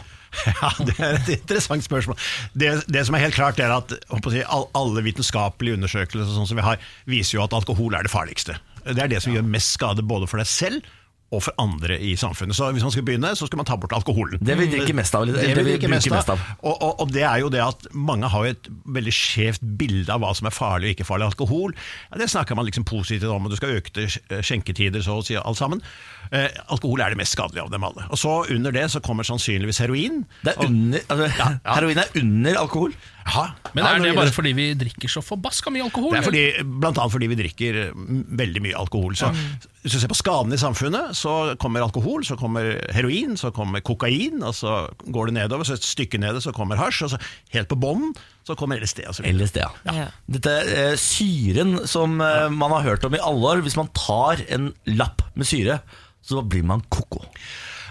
Ja, Det er et interessant spørsmål. Det, det som er helt klart er at holdt på å si, all- alle vitenskapelige undersøkelser sånn som vi har, viser jo at alkohol er det farligste. Det er det som gjør mest skade både for deg selv og for andre i samfunnet. Så hvis man skal begynne, så skal man ta bort alkoholen. Det vi drikker mest av, eller Det vi drikker mest bruker av. Og, og, og det er jo det at mange har jo et veldig skjevt bilde av hva som er farlig og ikke farlig alkohol. Ja, det snakker man liksom positivt om, og du skal øke til skj- skjenketider så å si alt sammen. Eh, alkohol er det mest skadelige av dem alle. Og så under det så kommer sannsynligvis heroin. Det er Og- under, altså, ja. Heroin er under alkohol. Jaha. Men er Ja, når det gjelder- bare fordi vi drikker så forbaska mye alkohol? det er fordi, blant annet fordi vi drikker mm, veldig mye alkohol. Så Mm. Hvis du ser på skadene i samfunnet, så kommer alkohol, så kommer heroin, så kommer kokain, og så går det nedover, så et stykke nede, så kommer hasj, og så helt på bånn, så kommer LSD. Og så videre. LSD, ja. Ja. Dette eh, syren som eh, man har hørt om i alle år, hvis man tar en lapp med syre, så blir man koko.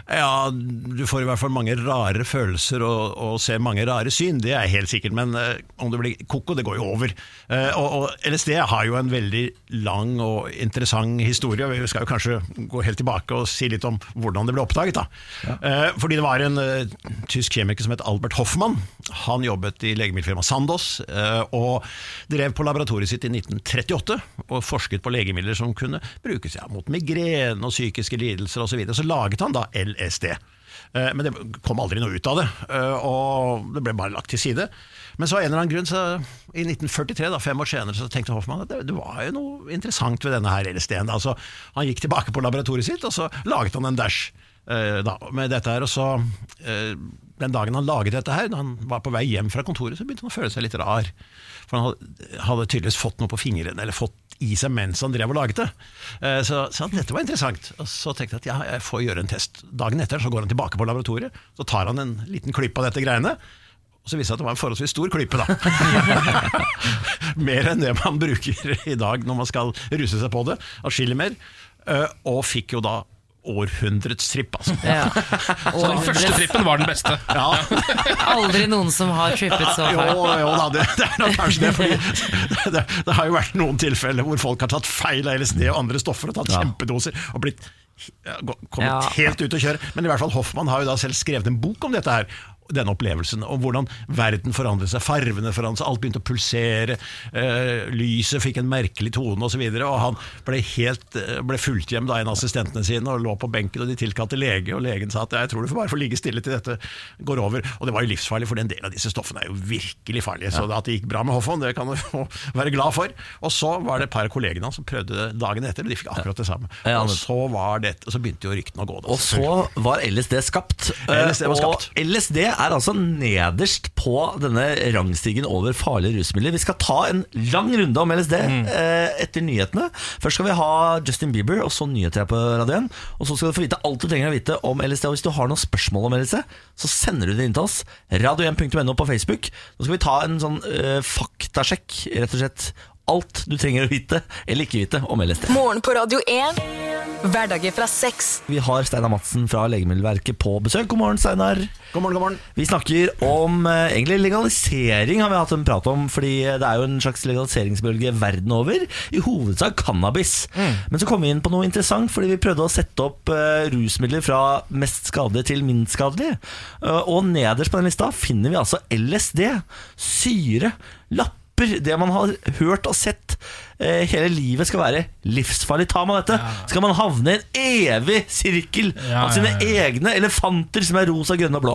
Ja, du får i hvert fall mange rare følelser og, og ser mange rare syn, det er helt sikkert, men eh, om det blir koko, det går jo over. Eh, og, og LSD har jo en veldig lang og interessant historie, og vi skal jo kanskje gå helt tilbake og si litt om hvordan det ble oppdaget. da. Eh, fordi det var en eh, tysk kjemiker som het Albert Hoffmann, han jobbet i legemiddelfirmaet Sandoz, eh, og drev på laboratoriet sitt i 1938, og forsket på legemidler som kunne brukes ja, mot migrene og psykiske lidelser osv. Så, videre. så laget han da LSD. Eh, Men det kom aldri noe ut av det, eh, og det ble bare lagt til side. Men så av en eller annen grunn, så i 1943, da, fem år senere, så tenkte Hoffmann at det, det var jo noe interessant ved denne her LSD-en. da. Så han gikk tilbake på laboratoriet sitt, og så laget han en dash eh, da, med dette her. Og så, eh, den dagen han laget dette her, da han var på vei hjem fra kontoret, så begynte han å føle seg litt rar. For han hadde, hadde tydeligvis fått noe på fingrene, eller fått i seg mens han drev og laget det. Eh, Så, så dette var interessant. Og så tenkte jeg at ja, jeg får gjøre en test. Dagen etter så går han tilbake på laboratoriet, så tar han en liten klype av dette greiene. Og så viste det seg at det var en forholdsvis stor klype, da. [LAUGHS] mer enn det man bruker i dag når man skal ruse seg på det. Atskillig mer. Eh, Og fikk jo da århundrets tripp, altså. [LAUGHS] Ja. Så den første trippen var den beste. Aldri noen som har trippet så [LAUGHS] Jo, hardt. jo da, det, det er nok kanskje det. Fordi [LAUGHS] det, det har jo vært noen tilfeller hvor folk har tatt feil av LSD og andre stoffer og tatt kjempedoser og blitt ja, gå- kommet Ja. helt ut å kjøre. Men i hvert fall Hoffmann har jo da selv skrevet en bok om dette her. Denne opplevelsen, om hvordan verden forandret seg, farvene forandret seg, alt begynte å pulsere, eh, lyset fikk en merkelig tone osv. Og han ble, helt, eh, ble fulgt hjem av en av assistentene sine og lå på benken, og de tilkalte lege, og legen sa at jeg tror du får bare få ligge stille til dette går over. Og det var jo livsfarlig, for en del av disse stoffene er jo virkelig farlige. Så at det gikk bra med Hoffmann, det kan du jo [LAUGHS] være glad for. Og så var det et par av kollegene hans som prøvde det dagen etter, og de fikk akkurat det samme. Ja, Og men- så, var det, og så begynte jo ryktene å gå. Da, Og så var LSD skapt. LSD var Eh, skapt. Og LSD er altså nederst på denne rangstigen over farlige rusmidler. Vi skal ta en lang runde om LSD Mm. eh, etter nyhetene. Først skal vi ha Justin Bieber, og så nyheter her på radioen. Og så skal du få vite alt du trenger å vite om LSD. Og hvis du har noen spørsmål om LSD, så sender du det inn til oss. Radio1.no på Facebook. Nå skal vi ta en sånn eh, faktasjekk, rett og slett. Alt du trenger å vite, eller ikke vite, om LSD. Morgen på Radio 1. Hverdager fra seks. Vi har Steinar Madsen fra Legemiddelverket på besøk. God morgen, Steinar. God morgen, god morgen. Vi snakker om eh, egentlig legalisering, har vi hatt en prat om. Fordi det er jo en slags legaliseringsbølge verden over. I hovedsak cannabis. Mm. Men så kom vi inn på noe interessant, fordi vi prøvde å sette opp eh, rusmidler fra mest skadelige til minst skadelige. Eh, og nederst på den lista finner vi altså LSD. Syre. Lapper. Det man har hørt og sett eh, hele livet skal være livsfarlig. Tar man dette, skal man havne i en evig sirkel Ja, av sine ja, egne elefanter som er rosa, grønne og blå.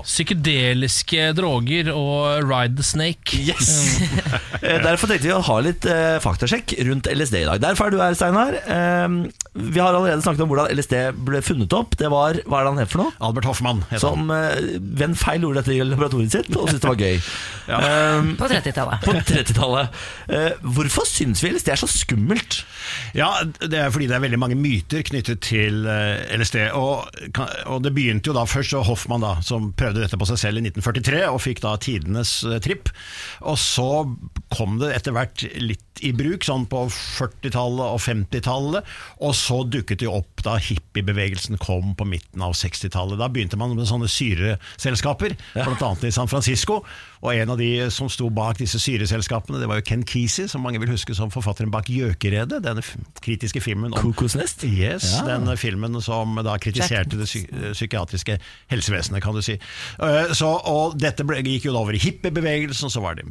Psykedeliske droger og Ride the Snake. Yes! [LAUGHS] Eh, Derfor tenkte vi å ha litt eh, faktasjekk rundt LSD i dag. Derfor er du her, Steinar. Eh, vi har allerede snakket om hvordan LSD ble funnet opp. Det var, Hva er det han het for noe? Albert Hoffmann heter han. Som eh, ved en feil gjorde dette i laboratoriet sitt og syntes [LAUGHS] det var gøy. Eh, På 30-tallet. på 30-tallet. Eh, hvorfor syns vi LSD er så skummelt? Ja, det er fordi det er veldig mange myter knyttet til eh, LSD. Og, kan- og det begynte jo da først så Hoffmann, da, som prøvde dette på seg selv i 1943, og fikk da tidenes eh, tripp. Og så kom det etter hvert litt i bruk, sånn på 40-tallet og 50-tallet. Og så dukket det jo opp da hippiebevegelsen kom på midten av 60-tallet. Da begynte man med sånne syreselskaper, blant annet i San Francisco. Og en av de som sto bak disse syreselskapene, det var jo Ken Kesey, som mange vil huske som forfatteren bak Gjøkeredet, denne f- kritiske filmen om Kokosnest? Yes, den filmen som da kritiserte det psy psykiatriske helsevesenet, kan du si. Eh, Så, og dette ble, gikk jo da over i hippiebevegelsen, så var det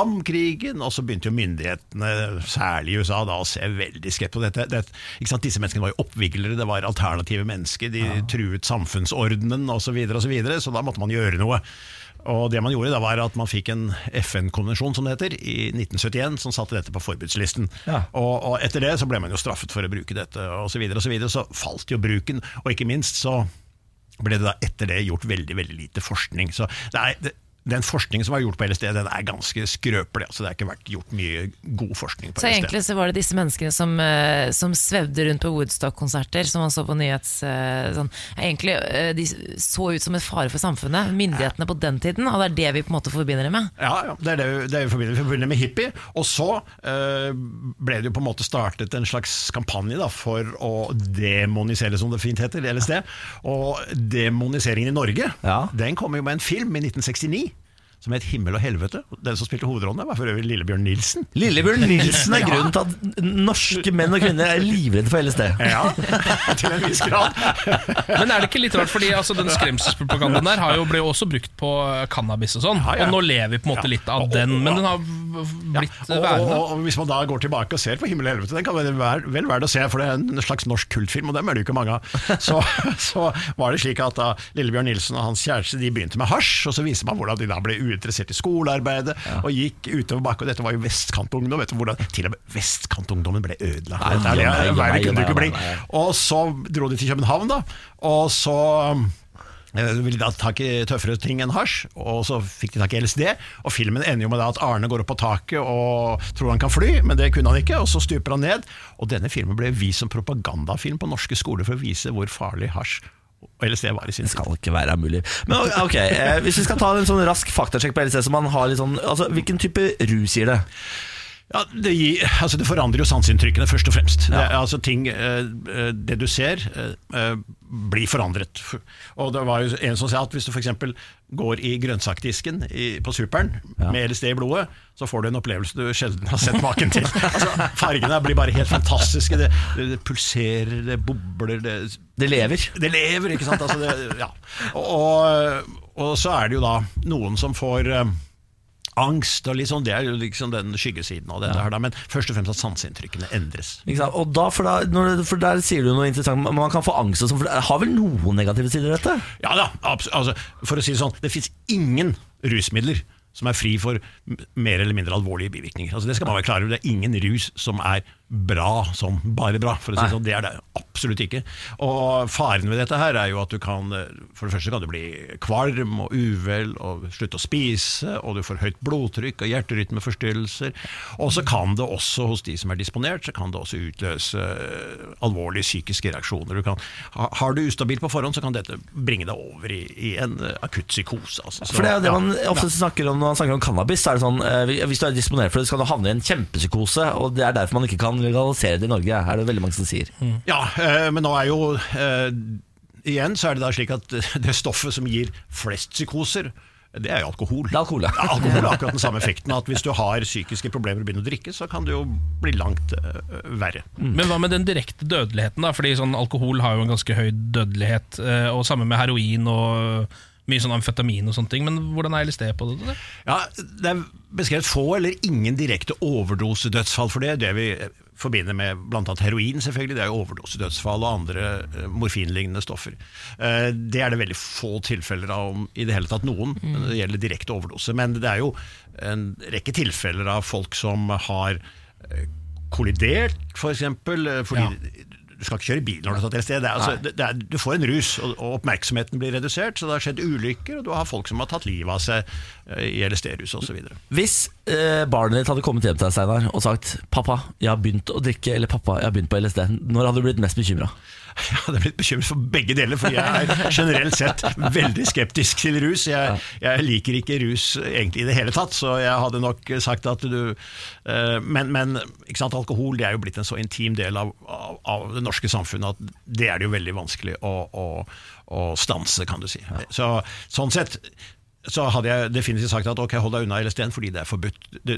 Vietnamkrigen, og så begynte jo myndighetene, særlig i USA, da, å se veldig skeptisk på dette. Det, ikke sant? Disse menneskene var jo oppviglere, det var alternative mennesker, de truet samfunnsordenen osv., så, videre, og så, videre, så da måtte man gjøre noe. Og det man gjorde da var at man fikk en FN-konvensjon som det heter, i 1971, som satte dette på forbudslisten. Ja. Og, og etter det så ble man jo straffet for å bruke dette, og så videre, og så videre. Så falt jo bruken, og ikke minst så ble det da etter det gjort veldig, veldig lite forskning. Så det er, det, den forskningen som er gjort på LSD, den er ganske skrøpelig. Altså, det har ikke vært gjort mye god forskning på Så LSD. egentlig så var det disse menneskene som, eh, som svevde rundt på Woodstock-konserter, som man så på nyhets... eh, sånn. Egentlig, eh, de så ut som en fare for samfunnet, myndighetene på den tiden, og det er det vi på en måte forbinder det med. Ja, ja, det er det, vi- det er vi forbinder, vi forbinder med hippie. Og så eh, ble det jo på en måte startet en slags kampanje da, for å demonisere, som det fint heter, LSD. Og demoniseringen i Norge, Ja. den kom jo med en film i 1969. Som het 'Himmel og helvete'. Den som spilte hovedrollen der, var for øvrig Lillebjørn Nilsen. Lillebjørn Nilsen er grunnen til at norske menn og kvinner er livredde for LSD. Ja, [LAUGHS] til en viss grad. Men er det ikke litt rart, fordi altså, den skremselspropagandaen der har jo, ble jo også brukt på cannabis og sånn. Ja, ja. Og nå lever vi på en måte Ja. litt av Og- den, og- men den har v- v- Ja, blitt og, og, værende. og Hvis man da går tilbake og ser på 'Himmel og helvete', den kan vel være, vel være det å se, for det er en slags norsk kultfilm, og dem er det jo ikke mange [LAUGHS] av. Så, så var det slik at da Lillebjørn Nilsen og hans kjæreste de begynte med hasj, og så viser man hvordan de da ble uinteressert i skolearbeidet og gikk utover bakken. og Dette var jo vestkantungdom, vet du hvordan til og med vestkantungdommen ble ødelagt. Nei, Dette er det nei, nei, verre kunne det nei, ikke bli. nei, nei. Eh. Og så dro de til København, da, og så eh, ville de da tak i tøffere ting enn hasj, og så fikk de tak i LSD. Og filmen ender jo med da at Arne går opp på taket og tror han kan fly, men det kunne han ikke, og så stuper han ned. Og denne filmen ble vist som propagandafilm på norske skoler for å vise hvor farlig hasj og LSD var i sin Det tid. skal ikke være mulig. Men ok, eh, Hvis vi skal ta en sånn rask faktasjekk på LSD så man har litt sånn, altså, Hvilken type rus gir det? Ja, det, gir, altså det forandrer jo sanseinntrykkene, først og fremst. Det, er altså ting, eh, eh, det du ser, eh, eh, blir forandret. Og det var jo en som sa at hvis du f.eks. går i grønnsakdisken i, på Superen med LSD i blodet, så får du en opplevelse du sjelden har sett maken til. [LAUGHS] altså, fargene blir bare helt fantastiske. Det, det, det pulserer, det bobler, det Det lever. det lever, ikke sant? Altså, det, ja. og, og så er det jo da noen som får eh, angst, og litt sånn, det er jo liksom den skyggesiden av det her, da. men først og fremst at sanseinntrykkene endres. Ikke sant? Og da, for, da, når, det- for der sier du noe interessant. Man man kan få angst og sånn. for Det har vel noen negative sider, dette? Ja da, abs- altså, for å si det sånn, det fins ingen rusmidler som er fri for m- mer eller mindre alvorlige bivirkninger. Altså, det skal man være klar over. Det er ingen rus som er bra som bare bra. For å si det, sånn. det er det absolutt ikke. Og faren ved dette her er jo at du kan eh, For det første kan du bli kvalm og uvel og slutte å spise, og du får høyt blodtrykk og hjerterytmeforstyrrelser. Og så kan det også, hos de som er disponert, så kan det også utløse eh, alvorlige psykiske reaksjoner. Du kan, ha- har du ustabil på forhånd, så kan dette bringe deg over i, i en eh, akutt psykose. Altså. Så- For det er jo det ja. man ofte snakker om når man snakker om cannabis. Så er det sånn, eh, Hvis du er disponert for det, så kan du havne i en kjempepsykose. Og Det er derfor man ikke kan legalisere det i Norge, er det veldig mange som sier. Ja, eh, men nå er jo eh, Igjen så er det da slik at [LAUGHS] det stoffet som gir flest psykoser, det er jo alkohol. Det er alkohol, ja. ja. Alkohol har akkurat den samme effekten. At hvis du har psykiske problemer og begynner å drikke, så kan det jo bli langt eh, verre. Men hva med den direkte dødeligheten? da? Fordi sånn Alkohol har jo en ganske høy dødelighet. eh, Og samme med heroin og mye sånn amfetamin og sånne ting. Men hvordan er LSD på det? da? Ja, Det er beskrevet få eller ingen direkte overdosedødsfall for det. er Det vi eh, forbinder med bl.a. heroin, selvfølgelig. Det er jo overdosedødsfall og andre eh, morfinlignende stoffer. Eh, Det er det veldig få tilfeller av, om i det hele tatt noen, når det gjelder direkte overdose. Men det er jo en rekke tilfeller av folk som har eh, kollidert, for eksempel, eh, fordi du skal ikke kjøre bil når du har tatt et sted. Det er, altså, det, det er, du får en rus, og, og oppmerksomheten blir redusert, så det har skjedd ulykker, og du har folk som har tatt livet av seg eh, i LSD-rus osv. Hvis eh, barnet ditt hadde kommet hjem til deg Steinar, og sagt 'pappa, jeg har begynt å drikke' eller 'pappa, jeg har begynt på LSD', når hadde du blitt mest bekymra? [LAUGHS] Jeg hadde blitt bekymret for begge deler, for jeg er generelt sett veldig skeptisk til rus. Jeg, jeg liker ikke rus egentlig i det hele tatt, så jeg hadde nok sagt at du eh, Men, men ikke sant, alkohol det er jo blitt en så intim del av, av, av det norske samfunnet at det er det jo veldig vanskelig å, å, å stanse, kan du si. Så, sånn sett så hadde jeg definitivt sagt at ok, hold deg unna LSD-en fordi det er forbudt. Det,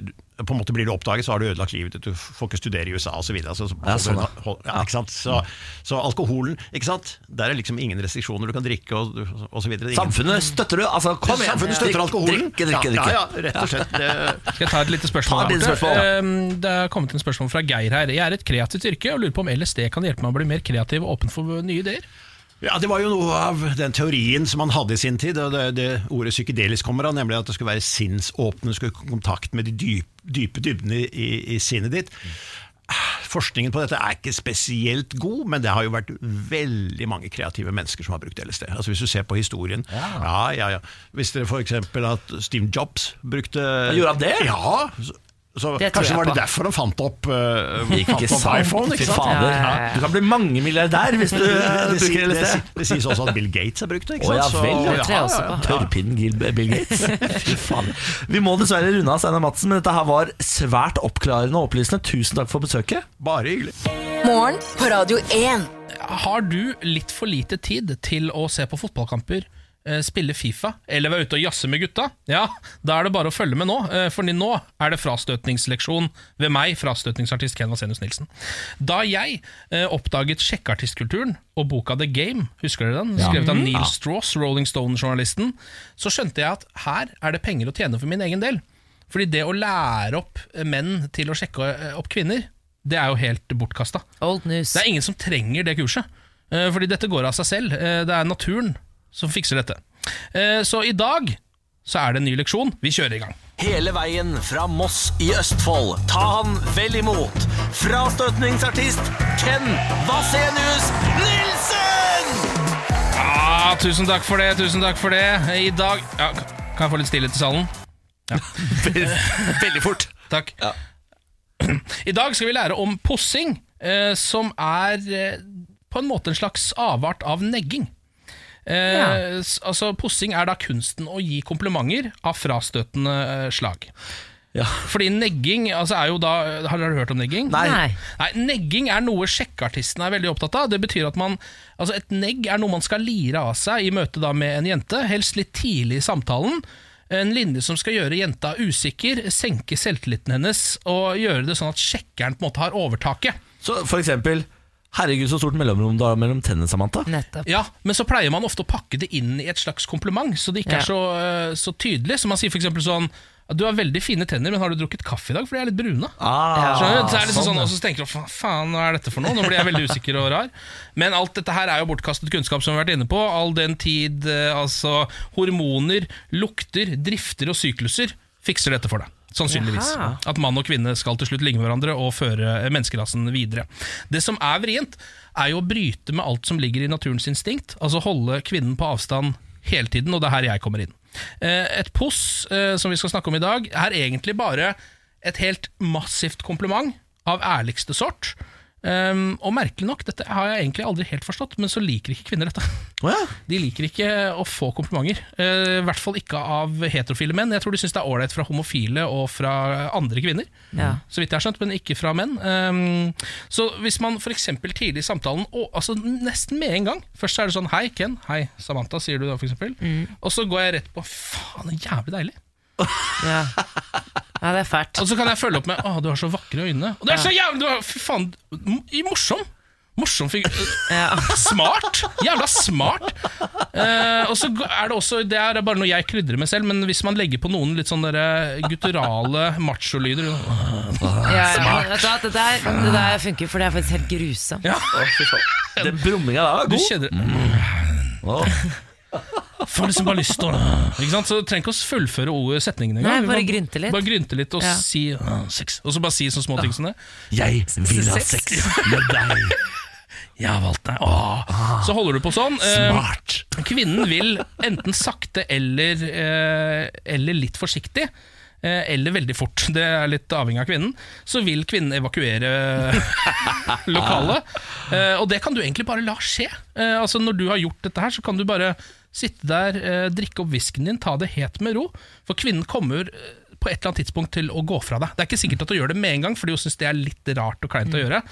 på en måte Blir du oppdaget, så har du ødelagt livet ditt, du får ikke studere i USA osv. Så, så, Ja, sånn, ja. Hold- ja, ikke sant? Så, så alkoholen, ikke sant? der er liksom ingen restriksjoner du kan drikke og, og så videre. Ingen- Samfunnet støtter du! Altså, kom igjen! Samfunnet støtter Drikk- alkoholen. Drikke, drikke, drikke. Ja, ja, ja, rett og slett. Det, Skal jeg ta et lite spørsmål? Ta et lite Arte? spørsmål, ja. Eh, Det er kommet inn et spørsmål fra Geir her. Jeg er et kreativt yrke og lurer på om LSD kan hjelpe meg å bli mer kreativ og åpen for nye ideer. ja, det var jo noe av den teorien som man hadde i sin tid, og det, det ordet psykedelisk kommer av, nemlig at det skulle være sinnsåpne, du skulle komme i kontakt med de dyp, dype dybdene i, i sinnet ditt. Forskningen på dette er ikke spesielt god, men det har jo vært veldig mange kreative mennesker som har brukt LSD. Altså Hvis du ser på historien ja. Ja, ja, Hvis dere f.eks. at Steve Jobs brukte gjorde han det? Ja, så, så Det tror jeg Kanskje var det på. derfor han fant opp, eh, fant Ikke opp sant? iPhone? Fy Ikke sant? fader. Ja, ja, ja. Du kan bli mangemilliardær hvis du eh, [LAUGHS] Det, si- bruker det, LSD. si- det sies også at Bill Gates har brukt Å det. Ikke sant? ja Så- vel, det tror jeg også på. Tørrpinnen Gil Bill Gates. Fy faen. Vi må dessverre runde av Steinar Madsen, men dette her var svært oppklarende og opplysende. Tusen takk for besøket. Bare hyggelig. Morgen på Radio 1. Har du litt for lite tid til å se på fotballkamper, eh, spille Fifa eller være ute og jazze med gutta? Ja, da er det bare å følge med nå, eh, for nå er det frastøtningsleksjon ved meg, frastøtningsartist Ken Vasenius Nilsen. Da jeg eh, oppdaget sjekkeartistkulturen og boka The Game, husker dere den? Skrevet av Neil Strauss, Rolling Stone-journalisten, så skjønte jeg at her er det penger å tjene for min egen del. Fordi det å lære opp eh, menn til å sjekke eh, opp kvinner, det er jo helt bortkasta. Old news. Det er ingen som trenger det kurset, eh, fordi dette går av seg selv. Eh, Det er naturen som fikser dette. Eh, Så i dag så er det en ny leksjon. Vi kjører i gang. Hele veien fra Moss i Østfold. Ta han vel imot. Frastøtningsartist Ken Vasenius Nilsen! Ja, Ah, tusen takk for det, tusen takk for det. Eh, I dag ja, Kan jeg få litt stillhet i salen? Veldig fort. Takk. [CLEARS THROAT] I dag skal vi lære om possing, eh, som er eh, på en måte en slags avart av negging. Eh, Ja. s- Altså Possing er da kunsten å gi komplimenter av frastøtende eh, slag. Ja. Fordi negging altså er jo da Har dere hørt om negging? Nei. Nei. Nei, Negging er noe sjekkeartistene er veldig opptatt av. Det betyr at man, altså Et negg er noe man skal lire av seg i møte da med en jente, helst litt tidlig i samtalen. En linje som skal gjøre jenta usikker, senke selvtilliten hennes og gjøre det sånn at sjekkeren på en måte har overtaket. Så for eksempel Herregud, så stort mellomrom du har mellom tennene, Samantha. Nettopp. Ja, Men så pleier man ofte å pakke det inn i et slags kompliment, så det Ja. ikke er så, eh, så tydelig. Så man sier f.eks. sånn Du har veldig fine tenner, men har du drukket kaffe i dag? For de er litt brune. Ah, Skjønner du? Så er det liksom sånn, sånn, ja. og så tenker du "Fa- faen, hva er dette for noe? Nå blir jeg veldig usikker og rar. Men alt dette her er jo bortkastet kunnskap, som vi har vært inne på. All den tid eh, altså, hormoner, lukter, drifter og sykluser fikser dette for deg. Sannsynligvis. Jaha. At mann og kvinne skal til slutt ligne hverandre og føre eh, menneskerasen videre. Det som er vrient, er jo å bryte med alt som ligger i naturens instinkt. Altså holde kvinnen på avstand hele tiden, og det er her jeg kommer inn. Eh, Et puss, eh, som vi skal snakke om i dag, er egentlig bare et helt massivt kompliment av ærligste sort. Ehm, og merkelig nok, dette har jeg egentlig aldri helt forstått, men så liker ikke kvinner dette. Å ja. De liker ikke å få komplimenter. Eh, I hvert fall ikke av heterofile menn. Jeg tror de syns det er ålreit fra homofile og fra andre kvinner. Ja. Så vidt jeg har skjønt, men ikke fra menn. Ehm, så hvis man f.eks. tidlig i samtalen, og, altså nesten med en gang Først så er det sånn 'Hei, Ken. Hei, Samantha', sier du da, f.eks. eksempel Og så går jeg rett på 'Faen, det er jævlig deilig'. Ja. ja, det er fælt. Og så kan jeg følge opp med 'Å, du har så vakre øyne'. Og det er så jævlig du er- Fy faen, m- i morsom! Morsom figur. eh, Ja. Smart! Jævla smart! Eh, og så er det også Det er bare noe jeg krydrer med selv, men hvis man legger på noen litt sånn derre gutturale macholyder Ja, ja, vet du hva, det, der, det der funker, for det er faktisk helt grusomt. Den brumminga der var Du god. kjenner Mm. Får liksom bare lyst til å Ikke sant? Så du trenger ikke å fullføre ordet setningen Nei, engang. bare Vi kan grynte litt. Bare grynte litt og Ja. si «Åh, sex. Og så bare si sånne små ting som det. Jeg vil ha Sex. sex med deg. Jeg har valgt deg. Ah. Åh. Så holder du på sånn. eh, Smart. Kvinnen vil enten sakte eller, eh, eller litt forsiktig. eh, Eller veldig fort, det er litt avhengig av kvinnen. Så vil kvinnen evakuere lokalet. Eh, Og det kan du egentlig bare la skje. Eh, Altså Når du har gjort dette her, så kan du bare sitte der, eh, drikke opp whiskyen din, ta det het med ro. For kvinnen kommer eh, på et eller annet tidspunkt til å gå fra deg. Det er ikke sikkert at hun gjør det med en gang, fordi hun syns det er litt rart og kleint å gjøre.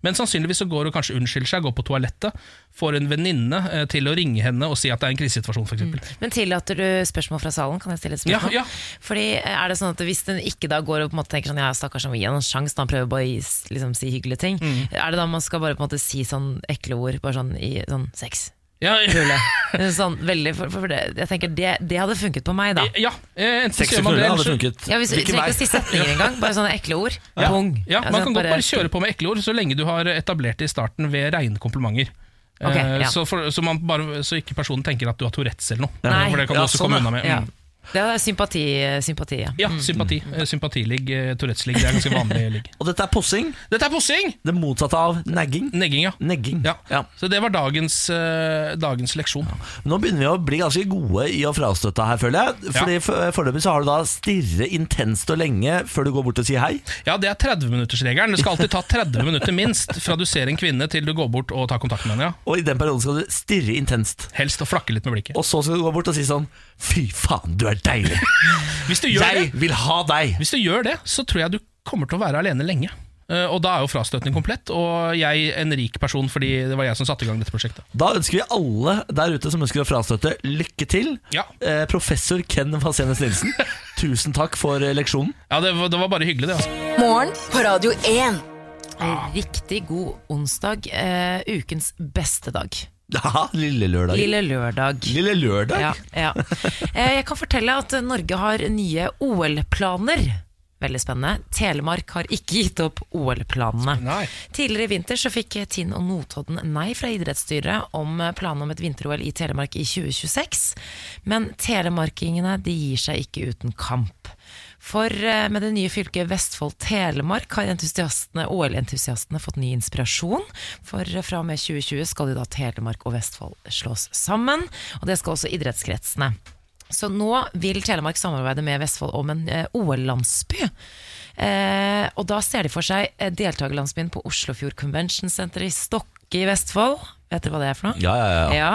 Men sannsynligvis så går hun kanskje unnskylder seg, går på toalettet, får en venninne eh, til å ringe henne og si at det er en krisesituasjon, f.eks. Men tillater du spørsmål fra salen? Kan jeg stille et spørsmål? Ja, ja. Fordi eh, er det sånn at Hvis den ikke da går og på en måte tenker sånn Ja, stakkars, han vil gi han en sjanse, da han prøver bare å gi- liksom, si hyggelige ting. Er det da man skal bare på en måte si sånn ekle ord, bare sånn i sånn sex? Ja, [LAUGHS] Kule. Sånn veldig for, for det, Jeg tenker det, det hadde funket på meg, da. ja, eh, enten så Sex gjør og man det, knulle eller hadde så funket. Ja, hvis, Hvilken Ikke vei? å si setninger engang, bare sånne ekle ord. Pung. ja, Altså, Man kan godt bare kjøre på med ekle ord, så lenge du har etablert det i starten ved rene komplimenter. Eh, Ok, ja. så, for, så, man bare, så ikke personen tenker at du har Tourettes eller noe. Nei. For det kan du Ja, også sånn, komme ja. unna med. ja. Mm. Det er sympati, sympati ja. Ja, sympati. Mm. Eh, Sympatiligg, eh, Tourettes-ligg. Det er ganske vanlig [LAUGHS] ligg. Og dette er possing. Dette er posing! Det motsatte av nagging. Negging, ja. Negging. ja. Så det var dagens, eh, dagens leksjon. Nå begynner vi å bli ganske gode i å frastøtte her, føler jeg. Fordi for- Foreløpig så har du da stirre intenst og lenge før du går bort og sier hei. Ja, det er 30-minuttersregelen. Det skal alltid ta 30 minutter minst fra du ser en kvinne til du går bort og tar kontakt med henne. Ja. Og i den perioden skal du stirre intenst. Helst å flakke litt med blikket. Og så skal du gå bort og si sånn Fy faen, du er deilig. Hvis du [LAUGHS] gjør, Jeg det, vil ha deg. hvis du gjør det, så tror jeg du kommer til å være alene lenge. Eh, Og da er jo frastøtning komplett, og jeg en rik person fordi det var jeg som satte i gang dette prosjektet. Da ønsker vi alle der ute som ønsker å frastøtte, lykke til. Ja. Eh, professor Ken Vasenes Nilsen, tusen takk for eh, leksjonen. Ja, det var, det var bare hyggelig, det. Altså. Morgen på Radio 1. Riktig god onsdag. Eh, ukens beste dag. Ja, lille lørdag. Lille lørdag. Lille lørdag? Ja, ja. Eh, Jeg kan fortelle at Norge har nye OL-planer. Veldig spennende. Telemark har ikke gitt opp OL-planene. Nei. Tidligere i vinter så fikk Tinn og Notodden nei fra idrettsstyret om eh, planene om et vinter-OL i Telemark i 2026. Men telemarkingene de gir seg ikke uten kamp. For eh, med det nye fylket Vestfold-Telemark har entusiastene, OL-entusiastene fått ny inspirasjon. For eh, fra og med 2020 skal jo da Telemark og Vestfold slås sammen, og det skal også idrettskretsene. Så nå vil Telemark samarbeide med Vestfold om en eh, OL-landsby. Eh, og da ser de for seg eh, deltakerlandsbyen på Oslofjord Convention Center i Stokke i Vestfold. Vet dere hva det er for noe? Ja, ja, ja. Ja,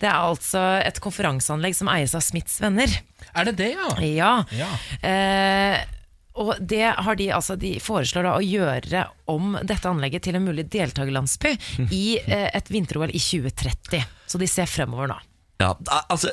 Det er altså et konferanseanlegg som eies av Smiths venner. Er det det, ja? Ja. Ja. Eh, Og det har de, altså, de foreslår da å gjøre om dette anlegget til en mulig deltakerlandsby i eh, et vinter-OL i 2030. Så de ser fremover nå. Ja, al- altså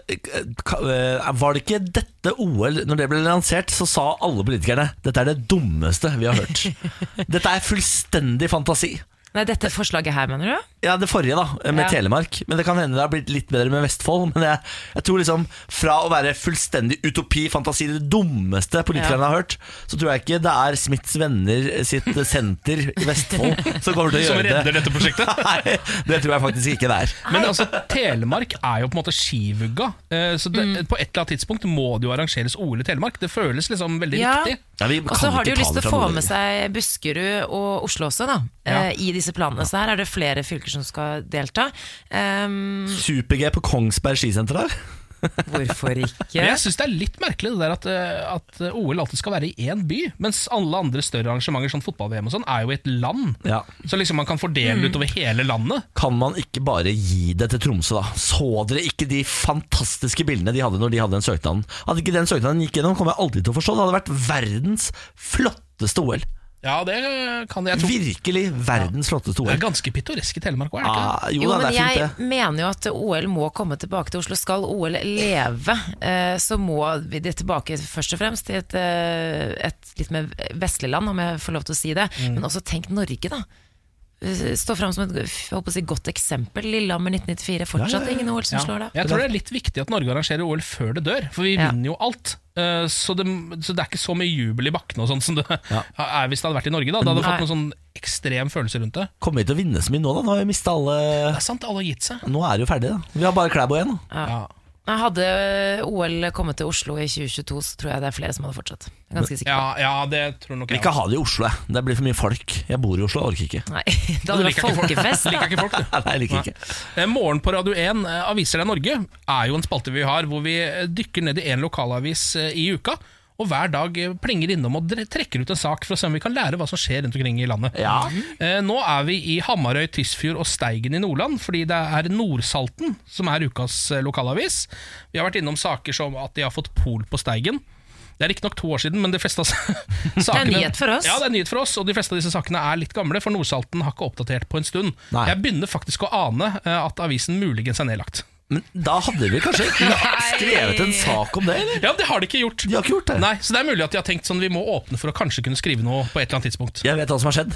ka- eh, Var det ikke dette OL Når det ble lansert, så sa alle politikerne Dette er det dummeste vi har hørt [LAUGHS] Dette er fullstendig fantasi Nei, dette forslaget her, mener du? Ja, det forrige da, med Ja. Telemark Men det kan hende det har blitt litt bedre med Vestfold Men jeg, jeg tror liksom Fra å være fullstendig utopi, fantasi Det dummeste politikerne Ja. har hørt Så tror jeg ikke det er Smiths venner Sitt senter i Vestfold Som kommer til å Som gjøre det redder dette prosjektet? [LAUGHS] Nei, det tror jeg faktisk ikke det er Men altså, Telemark er jo på en måte skivugga, eh, så det, på et eller annet tidspunkt må det jo arrangeres OL i Telemark. Det føles liksom veldig riktig. Ja, vi Og så kan har de ikke jo ta lyst det til å fra få noen med seg Buskerud og Oslo også, da. eh, I disse planene. Så her er det flere fylker som skal delta. Ehm, Super-G på Kongsberg skisenter der hvorfor ikke? [LAUGHS] Men jeg syns det er litt merkelig det der at, eh, at OL alltid skal være i én by, mens alle andre større arrangementer, sånn fotball-VM og sånn, er jo i et land. Ja. Så liksom man kan fordele det utover hele landet. Kan man ikke bare gi det til Tromsø, da? Så dere ikke de fantastiske bildene de hadde når de hadde den søknaden? Hadde ikke den søknaden gikk gjennom, kommer jeg aldri til å forstå. Det hadde vært verdens flotteste OL. Ja, det kan jeg tro. Virkelig verdens flotteste Det er OL. ganske pittoresk i Telemark òg, er det ikke? det? Ah, jo Jo, da, det men er jeg fint, det. mener jo at OL må komme tilbake til Oslo. Skal OL leve, eh, så må vi det tilbake først og fremst til et, eh, et litt mer vestlig land, om jeg får lov til å si det. Mm. Men også tenk Norge, da. Eh, Stå fram som et jeg håper å si, godt eksempel. Lillehammer 1994, fortsatt ingen OL som Ja. slår det. Jeg tror det er litt viktig at Norge arrangerer OL før det dør, for vi Ja. vinner jo alt. Eh, Så det, så det er ikke så mye jubel i bakkene og sånn som det er hvis det hadde vært i Norge. Da Da hadde du Nei. fått noen sånn ekstrem følelse rundt det. Kommer vi til å vinne så mye nå, da? Nå har vi mista alle Det er sant, alle har gitt seg. Nå er det jo ferdig, da. Vi har bare Klæbo igjen. da. Ja. Nei, Hadde OL kommet til Oslo i 2022, så tror jeg det er flere som hadde fortsatt. Jeg er ganske sikker. Ja, på ja, det tror nok Vi jeg. kan ha det i Oslo, jeg. Det blir for mye folk. Jeg bor i Oslo, jeg orker ikke. Nei, [LAUGHS] det hadde vært Du liker ikke folk. folkefest, [LAUGHS] Liker da. ikke folk, du. [LAUGHS] Nei, jeg liker ikke. Eh, Morgen på Radio 1, eh, Aviser deg Norge, er jo en spalte vi har hvor vi eh, dykker ned i én lokalavis eh, i uka. Og hver dag eh, plinger innom og dre- trekker ut en sak for å se om vi kan lære hva som skjer rundt omkring i landet. Ja. Eh, Nå er vi i Hamarøy, Tysfjord og Steigen i Nordland, fordi det er Nordsalten som er ukas eh, lokalavis. Vi har vært innom saker som at de har fått pol på Steigen. Det er riktignok to år siden, men de fleste av [LAUGHS] sakene nyhet for oss. Ja, det er nyhet for oss, og de fleste av disse sakene er litt gamle, for Nordsalten har ikke oppdatert på en stund. Nei. Jeg begynner faktisk å ane eh, at avisen muligens er nedlagt. Men da hadde vi kanskje skrevet en sak om det, eller? Ja, det har de ikke gjort. De har ikke gjort det. Nei, Så det er mulig at de har tenkt sånn vi må åpne for å kanskje kunne skrive noe på et eller annet tidspunkt. Jeg vet hva som har skjedd.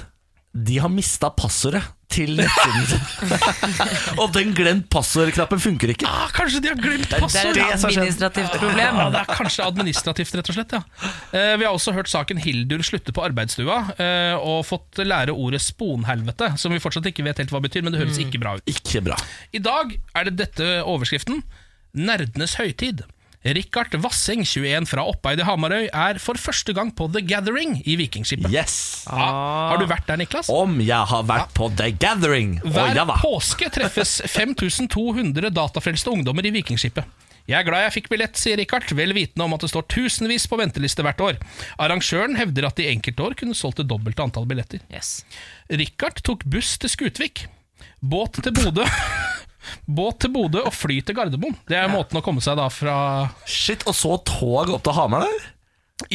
De har mista passordet til nettsiden sin. og den glemt passordknappen funker ikke. Ah, kanskje de har glemt Det er passord! et administrativt problem. Ja, det er kanskje administrativt, rett og slett. ja eh, Vi har også hørt saken Hildur slutte på arbeidsstua, eh, og fått lære ordet sponhelvete, som vi fortsatt ikke vet helt hva betyr, men det Mm. høres ikke bra ut. Ikke bra. I dag er det dette overskriften. Nerdenes høytid. Richard Wasseng, 21 fra Oppeid i Hamarøy, er for første gang på The Gathering i Vikingskipet. Yes! Ja. Har du vært der, Niklas? Om jeg har vært på The Gathering! Å Hver ja da. påske [LAUGHS] treffes 5200 datafrelste ungdommer i Vikingskipet. Jeg er glad jeg fikk billett, sier Richard, vel vitende om at det står tusenvis på venteliste hvert år. Arrangøren hevder at de enkelte år kunne solgt det dobbelte antall billetter. Yes. Richard tok buss til Skutvik, båt til Bodø, [LAUGHS] båt til Bodø og fly til Gardermoen. Det er måten å komme seg da fra Shit, og så tog opp til Hamar der?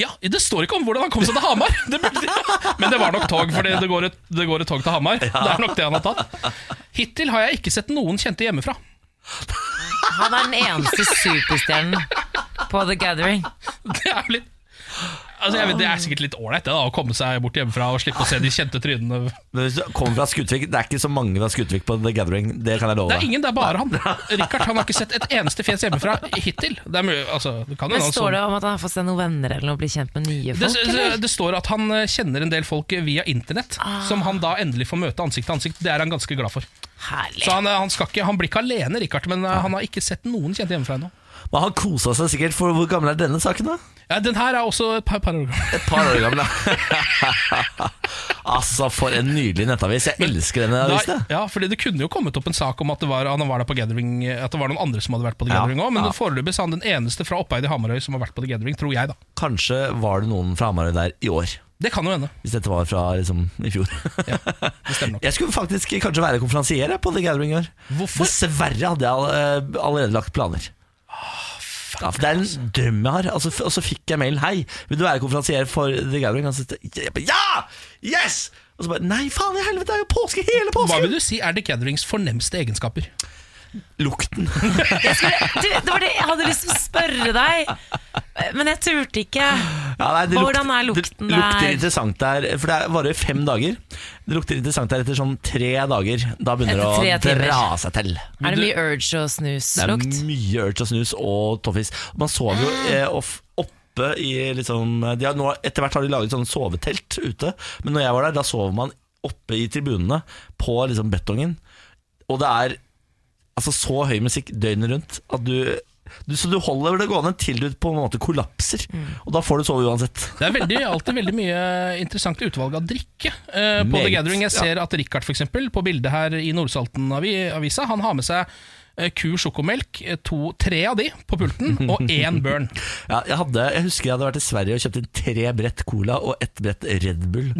Ja, det står ikke om hvordan han kom seg til Hamar! Det burde, [LAUGHS] men det var nok tog, for det går, et, det går et tog til Hamar. Det er nok det han har tatt. Hittil har jeg ikke sett noen kjente hjemmefra. [LAUGHS] Han er den eneste superstjernen på The Gathering. Det er litt Altså, jeg vet, Det er sikkert litt ålreit det da, å komme seg bort hjemmefra og slippe å se de kjente trynene. Men hvis du kommer fra Skutvik Det er ikke så mange fra Skutvik på The Gathering, det kan jeg love Det er deg. ingen, det er [LAUGHS] bare han. Richard han har ikke sett et eneste fjes hjemmefra hittil. Det er mye, altså, det kan Men jo være han som- Står det om at han har fått seg noen venner eller noe, blir kjent med nye Det, folk? det, eller? Ah. det står at han eh, kjenner en del folk via internett, som han da endelig får møte ansikt til ansikt. Det er han ganske glad for. Herlig. Så han, eh, han, skal ikke, han blir ikke alene, Richard, men eh, han har ikke sett noen kjente hjemmefra ennå. Men han kosa seg sikkert, for hvor gammel er denne saken, da? Ja, den her er også et par, par år gammel. Et par år gammel, da. [LAUGHS] altså, for en nydelig nettavis. Jeg elsker denne Da- avisen. jeg. ja, fordi Det kunne jo kommet opp en sak om at det var, han var der på gathering At det var noen andre som hadde vært på The Ja, Gathering òg, men ja. foreløpig så er han den eneste fra Oppeid i Hamarøy som har vært på The Gathering, tror jeg, da. Kanskje var det noen fra Hamarøy der i år, Det kan jo hende. hvis dette var fra liksom, i fjor. Det stemmer nok. [LAUGHS] Jeg skulle faktisk kanskje være konferansier jeg, på The Gathering i år. Hvorfor? Dessverre hadde jeg all- eh, allerede lagt planer. Ja, for det er en drøm jeg har. Altså, f- og så fikk jeg mail Hei, vil du være konferansier for The Gathering? Og så tenkte jeg, Ja! Yes! Og så bare Nei, faen i helvete, det er jo påske hele Hva påsken! vil du si er The Gatherings fornemste egenskaper? Lukten. Jeg skulle, du, det var det jeg hadde lyst til å spørre deg, men jeg turte ikke. Ja, nei, det Hvordan er lukter- lukten det lukter der? interessant der, for det er- varer fem dager. Det lukter interessant der etter sånn tre dager. Da begynner Etter det å tre timer. dra seg til. Er det mye urge og snuslukt? Det er mye urge og snus og toffis. Man sover Ah. jo eh, off, oppe i liksom de har nå, Etter hvert har de laget sånne sovetelt ute, men når jeg var der, da sover man oppe i tribunene på liksom betongen. Og det er altså så høy musikk døgnet rundt at du, du Så du holder det gående til du på en måte kollapser, Mm. og da får du sove uansett. Det er veldig, alltid veldig mye interessant utvalg av drikke eh, på The Meget, Gathering. Jeg ser at Richard for eksempel, på bildet her i Nordsalten-avisa Han har med seg eh, Ku sjokomelk, eh, to, tre av de på [LAUGHS] pulten, og én burn. Ja, jeg, hadde, jeg husker jeg hadde vært i Sverige og kjøpt inn tre brett cola og ett brett Red [LAUGHS] Bull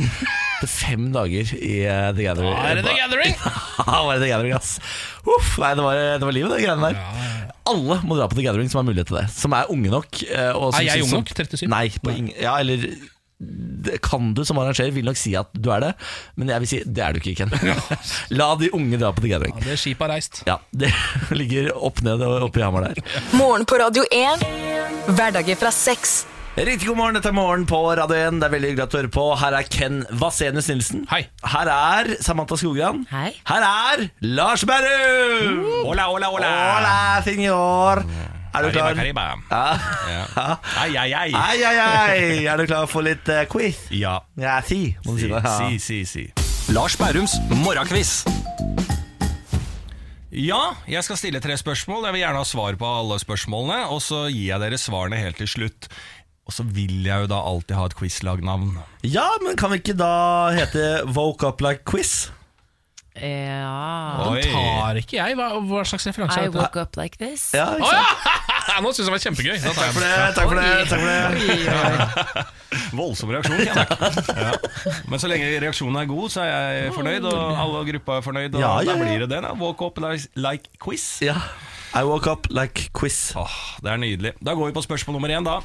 til fem dager i eh, The Gathering. Da er det The [LAUGHS] Gathering! Ja, var det The Gathering, ass. Uff, nei, det var, det var livet, det greiene der. Alle må dra på The Gathering som har mulighet til det. Som er unge nok. eh, Og som Er jeg synes- ung nok? 37? Nei. På ingen, ja, eller det kan du som arrangør vil nok si at du er det, men jeg vil si det er du ikke, [LAUGHS] Ken. La de unge dra på The Gathering. Ja, det skipet har reist. Ja, Det [LAUGHS] ligger opp ned og oppe i Hamar der. Morgen på Radio 1. Hverdager fra seks. Riktig god morgen, dette er Morgen på Radio 1. Det er veldig hyggelig at du hører på. Her er Ken Vasenus Nilsen. Hei. Her er Samantha Skogran. Hei. Her er Lars Berrum! Hola, hola, hola. Hola, senor! Er du klar? Kariba, Ja. Ai, ai, ai. Ai, ai, ai. Er du klar for litt eh, quiz? Ja. Ja, si, må du si. det. Ja. Si, si, si. Lars Bærums morgenkviss. Ja, jeg skal stille tre spørsmål. Jeg vil gjerne ha svar på alle spørsmålene. Og så gir jeg dere svarene helt til slutt. Og så vil jeg jo da alltid ha et quizlagnavn. ja, men kan vi ikke da hete Woke Up Like Quiz? Ja Oi. Tar ikke jeg? Hva, hva slags referanse I er dette? woke up like this. Ja, ikke sant? Nå syns jeg det var kjempegøy. Da tar Takk jeg for den. det. takk for det, takk for det Voldsom reaksjon, kjenner jeg. [LAUGHS] Ja. Men så lenge reaksjonen er god, så er jeg fornøyd, og alle gruppa er fornøyd. Og Mm. Ja, ja, da ja. blir det den. da. Walk up like, like quiz. ja. I woke up like quiz. Åh, det er nydelig. Da går vi på spørsmål nummer én, da.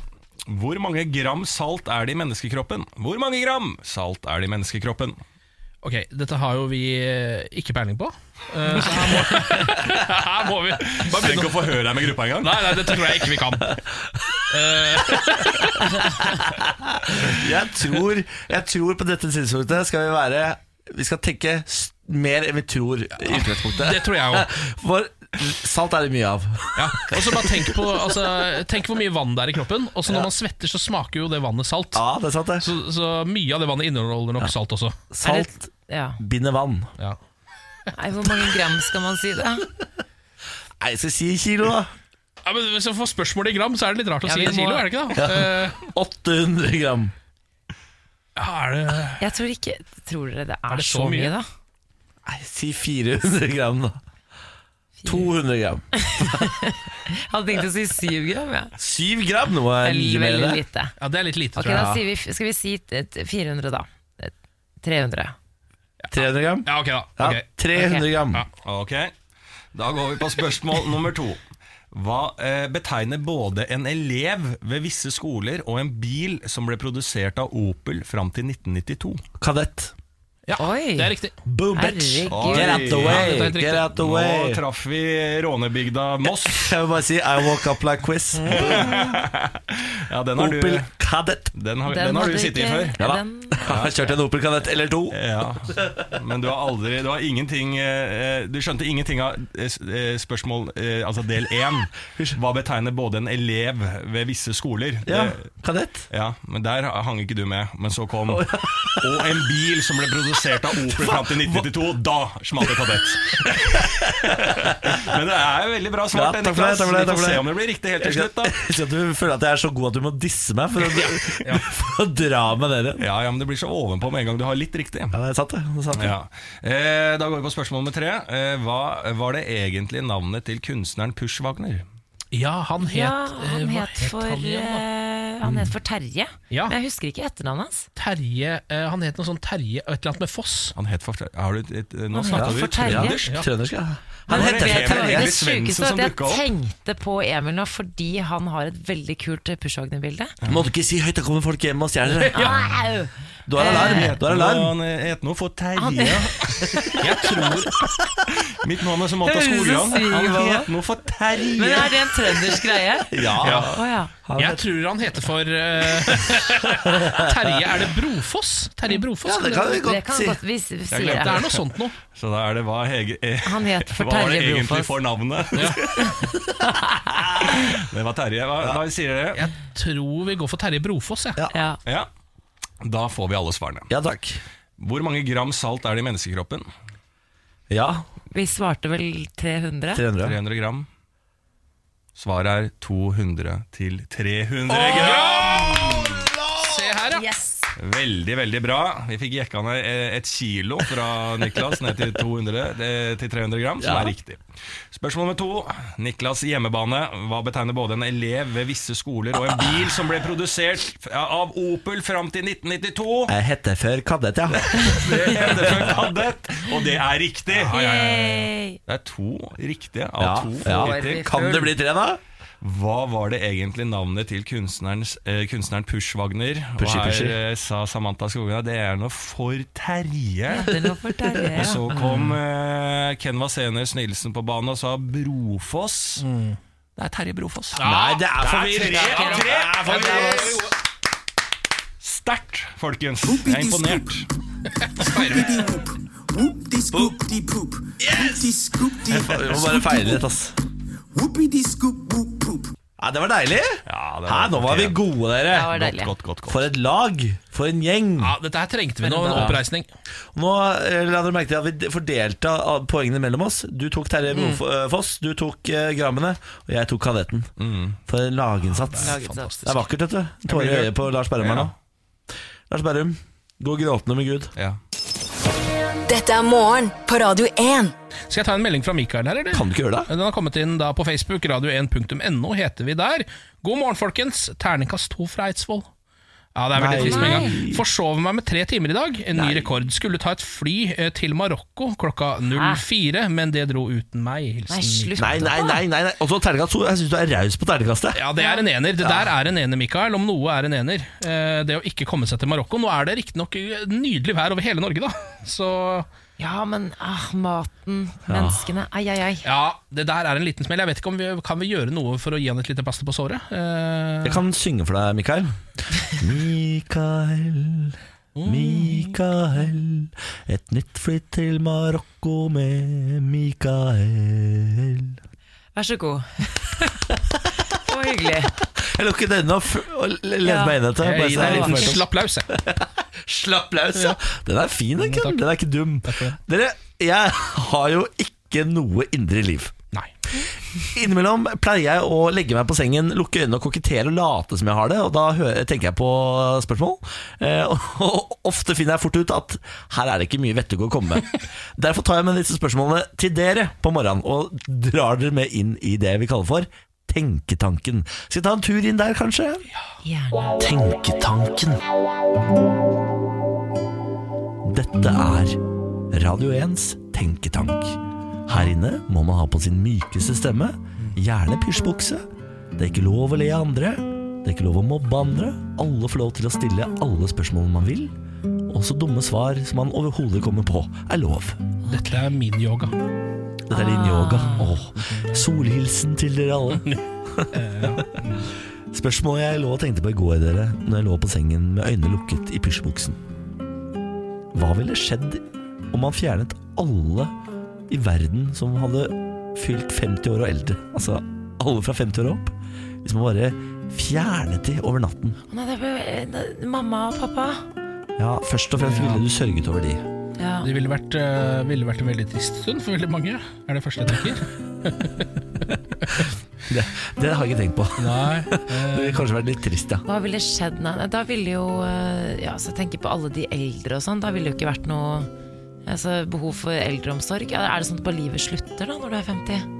Hvor mange gram salt er det i menneskekroppen? Hvor mange gram salt er det i menneskekroppen? Ok, dette har jo vi eh, ikke peiling på. Eh, så her må, her må vi [LAUGHS] bare Tenk begynne. å få høre deg med gruppa en gang. Nei, nei, dette tror jeg ikke vi kan. Eh, Jeg tror, jeg tror på dette tidspunktet skal vi være Vi skal tenke s- mer enn vi tror i utgangspunktet. Det tror jeg òg. [LAUGHS] For salt er det mye av. Ja. Og så bare tenk på altså, Tenk hvor mye vann det er i kroppen. Og så når man svetter, så smaker jo det vannet salt. Ja, det er sant, det. Så, så mye av det vannet inneholder nok salt også. Salt Ja. binder vann. Ja. Nei, hvor mange gram skal man si det? Nei, jeg skal si kilo, da. Ja, men Hvis jeg får spørsmålet i gram, så er det litt rart å Ja, si vi i kilo, må- er det ikke da? Eh, 800 gram. Ja, er det Jeg tror ikke Tror dere det er, det så, så mye? mye, da? Nei, si 400 gram, da. 200 gram. Jeg hadde tenkt å si syv gram. Ja. 7 gram nå er Veldig, mye mer veldig enn det. lite. Ja, det er litt lite, Ok, tror jeg. da sier vi, Skal vi si et- et 400, da? Et 300. 300 gram? Ja, ok da. Ja, Ok. 300 gram. Ja. Ok, Da går vi på spørsmål nummer to. Hva eh, betegner både en elev ved visse skoler og en bil som ble produsert av Opel fram til 1992? Kadett. Ja, Oi. det er riktig. Boom, bitch. Oi. Herregud. Get out the Ja, way. dette er helt riktig. Get out the Nå way. traff vi rånebygda Moss. Jeg vil bare si I woke up like [LAUGHS] quiz. Ja, den har du, Opel Kadett. den har, den har hadde du sittet i ikke- før. Ja da. den- [LAUGHS] Kjørt en Opel Kadett eller to. Ja, men du har aldri Du har ingenting eh, Du skjønte ingenting av eh, s- eh, spørsmål eh, Altså del 1 Hva betegner både en elev ved visse skoler Ja, Det- kadett. ja, men der hang ikke du med Men så kom Og en bil som ble produsert av Opel fram til 1992 Da smalt det kadett Men det er jo veldig bra Ja, svart takk for det, Niklas takk for det, Vi takk for får det. se om det blir riktig helt [LAUGHS] til slutt da Jeg skal at du føler at jeg er så god at du må disse meg [LAUGHS] for å, [LAUGHS] for å dra med dere. Ja, ja, men det blir så ovenpå med en gang du har litt riktig Ja, det er sant, det. det, er sant, det. Ja. Eh, da går vi på spørsmål nummer tre. Eh, hva var det egentlig navnet til kunstneren Push Wagner? Ja, han het Ja, han eh, hva het for han igjen, da? eh, han het for Terje. Ja. Men jeg husker ikke etternavnet hans. Terje eh, Han het noe sånn Terje og et eller annet med Foss. Han het for Har du et, et, Nå het snakka for du Terje. trøndersk. Trøndersk, ja. Nå Han var heter det Terje. Emil Det Egil sjukeste Svendsen var som at dukka jeg opp. tenkte på Emil nå fordi han har et veldig kult eh, Pushogner-bilde. Må du ikke si høyt, da kommer folk hjem og stjeler det. Au! Du har [LAUGHS] alarm. Du har alarm. Han het noe for Terje. [LAUGHS] Jeg tror Mitt navn er Samantha Høres ut som Skogran. Han Svigermor. het noe for Men Terje. er det en trøndersk greie? Ja. Å ja. Jeg tror han heter for eh, [LAUGHS] Terje Er det Brofoss? Terje Brofoss? Ja, det kan vi Det godt kan si. godt vi s- sier Det det. er noe sånt noe. Så da er det hva Hege eh, Han het for Hva var det Terje egentlig Brofoss. for navnet? [LAUGHS] det var Terje. Hva, hva sier dere? Jeg tror vi går for Terje Brofoss, jeg. Ja. Ja. Ja. Da får vi alle svarene. Ja takk. Hvor mange gram salt er det i menneskekroppen? Ja, Vi svarte vel 300? 300. 300 gram. Svaret er 200 til 300 gram. Se her, ja. Yes! Veldig, veldig bra. Vi fikk jekka ned eh, et kilo fra Niklas ned til, 200, eh, til 300 gram, som er riktig. Spørsmål nummer to. Niklas hjemmebane. Hva betegner både en elev ved visse skoler og en bil som ble produsert av Opel fram til 1992? Jeg heter før kadett, ja. Det heter for kadett, og det er riktig. Yay. Det er to riktige ja, av to. ja. riktige. Kan det bli tre, da? Hva var det egentlig navnet til kunstnerens, eh, kunstneren Pushwagner? Pushy, og her pushy. eh, sa Samantha Skogran det er noe for Terje. Det er noe for Terje, [LAUGHS] Og ja. så kom eh, Ken Vasenus Nilsen på banen og sa Brofoss. Det er Terje Brofoss. Nei, det er Tre forvirrende. av tre! Sterkt, folkens. Jeg er imponert. Vi må bare feile litt, ass. Ja, det var deilig. Ja, det Hæ, nå var vi fortjent. Det gode, var dere. deilig. Godt, godt, godt. For et lag. For en gjeng. ja. Dette her trengte vi nå, en oppreisning. Nå eh, la dere merke til at vi fordelte av- poengene mellom oss. Du tok Terje Brof- eh, Foss, du tok eh, grammene, og jeg tok kadetten. For en laginnsats. Laginnsats. Mm. Det er vakkert, vet du. Tårer i blir øyet på Lars Berrum her nå. Lars Berrum, gå gråtende med Gud. Ja. Dette er morgen på Radio 1. Skal jeg ta en melding fra Mikael her, eller? Kan du ikke gjøre det? Den har kommet inn da på Facebook, radio1.no heter vi der. God morgen, folkens. Terningkast to fra Eidsvoll. Ja, det er veldig Nei. trist med en gang. Nei. Forsov meg med tre timer i dag. En ny rekord. Skulle ta et fly eh, til Marokko klokka 04, men det dro uten meg. Hilsen Nei, slutt. Nei, nei, nei. nei, nei. Og så terningkast to. Jeg syns du er raus på terningkastet. Ja, det er en ener. Det der er en ener, Mikael. Om noe er en ener. Eh, Det å ikke komme seg til Marokko. Nå er det riktignok nydelig vær over hele Norge, da. Så Ja, men ah, maten, menneskene Ai, ai, ai. ja, det der er en liten smell. Jeg vet ikke om vi kan vi gjøre noe for å gi han et lite plaster på såret. Eh, Jeg kan synge for deg, [LAUGHS] Mikael. Mikael, Mm. Mikael. Et nytt fly til Marokko med Mikael. Vær så god. [LAUGHS] Det var hyggelig. Jeg lukket øynene og f- og lente Ja. meg inn etter. Jeg gir deg en Bare liten så- slapp laus, jeg. Slapp laus, ja. Den er fin, den, Ken. Mm, takk. Den er ikke dum. Dere, jeg har jo ikke noe indre liv. Nei. Innimellom pleier jeg å legge meg på sengen, lukke øynene og kokettere og late som jeg har det, og da hø- tenker jeg på spørsmål. Eh, og ofte finner jeg fort ut at her er det ikke mye vettug å komme med. Derfor tar jeg med disse spørsmålene til dere på morgenen, og drar dere med inn i det vi kaller for tenketanken. Skal vi ta en tur inn der, kanskje? Gjerne. Tenketanken. Dette er Radio 1s tenketank. Her inne må man ha på sin mykeste stemme, gjerne pysjbukse. Det er ikke lov å le av andre. Det er ikke lov å mobbe andre. Alle får lov til å stille alle spørsmål man vil. Også dumme svar som man overhodet kommer på, er lov. Dette er min yoga. Dette er din yoga. Åh, solhilsen til dere alle. Spørsmålet jeg lå og tenkte på i går, dere, når jeg lå på sengen med øynene lukket i pysjbuksen. Hva ville skjedd om man fjernet alle i verden som hadde fylt 50 år og eldre? Altså alle fra 50 år og opp. Hvis man bare fjernet de over natten. Å, Nei, det ble, eh, mamma og pappa. Ja, Først og fremst ville du sørget over de. Ja. Det ville vært, eh, ville vært en veldig trist stund for veldig mange. Er det første jeg tenker? Det, det har jeg ikke tenkt på. Nei. [LAUGHS] Det ville kanskje vært litt trist, ja. Hva ville skjedd? Nei, nei, da ville jo eh, ja, så tenker jeg på alle de eldre og sånn. Da ville det jo ikke vært noe altså, behov for eldreomsorg. Ja, Er det sånn at bare livet slutter da når du er 50?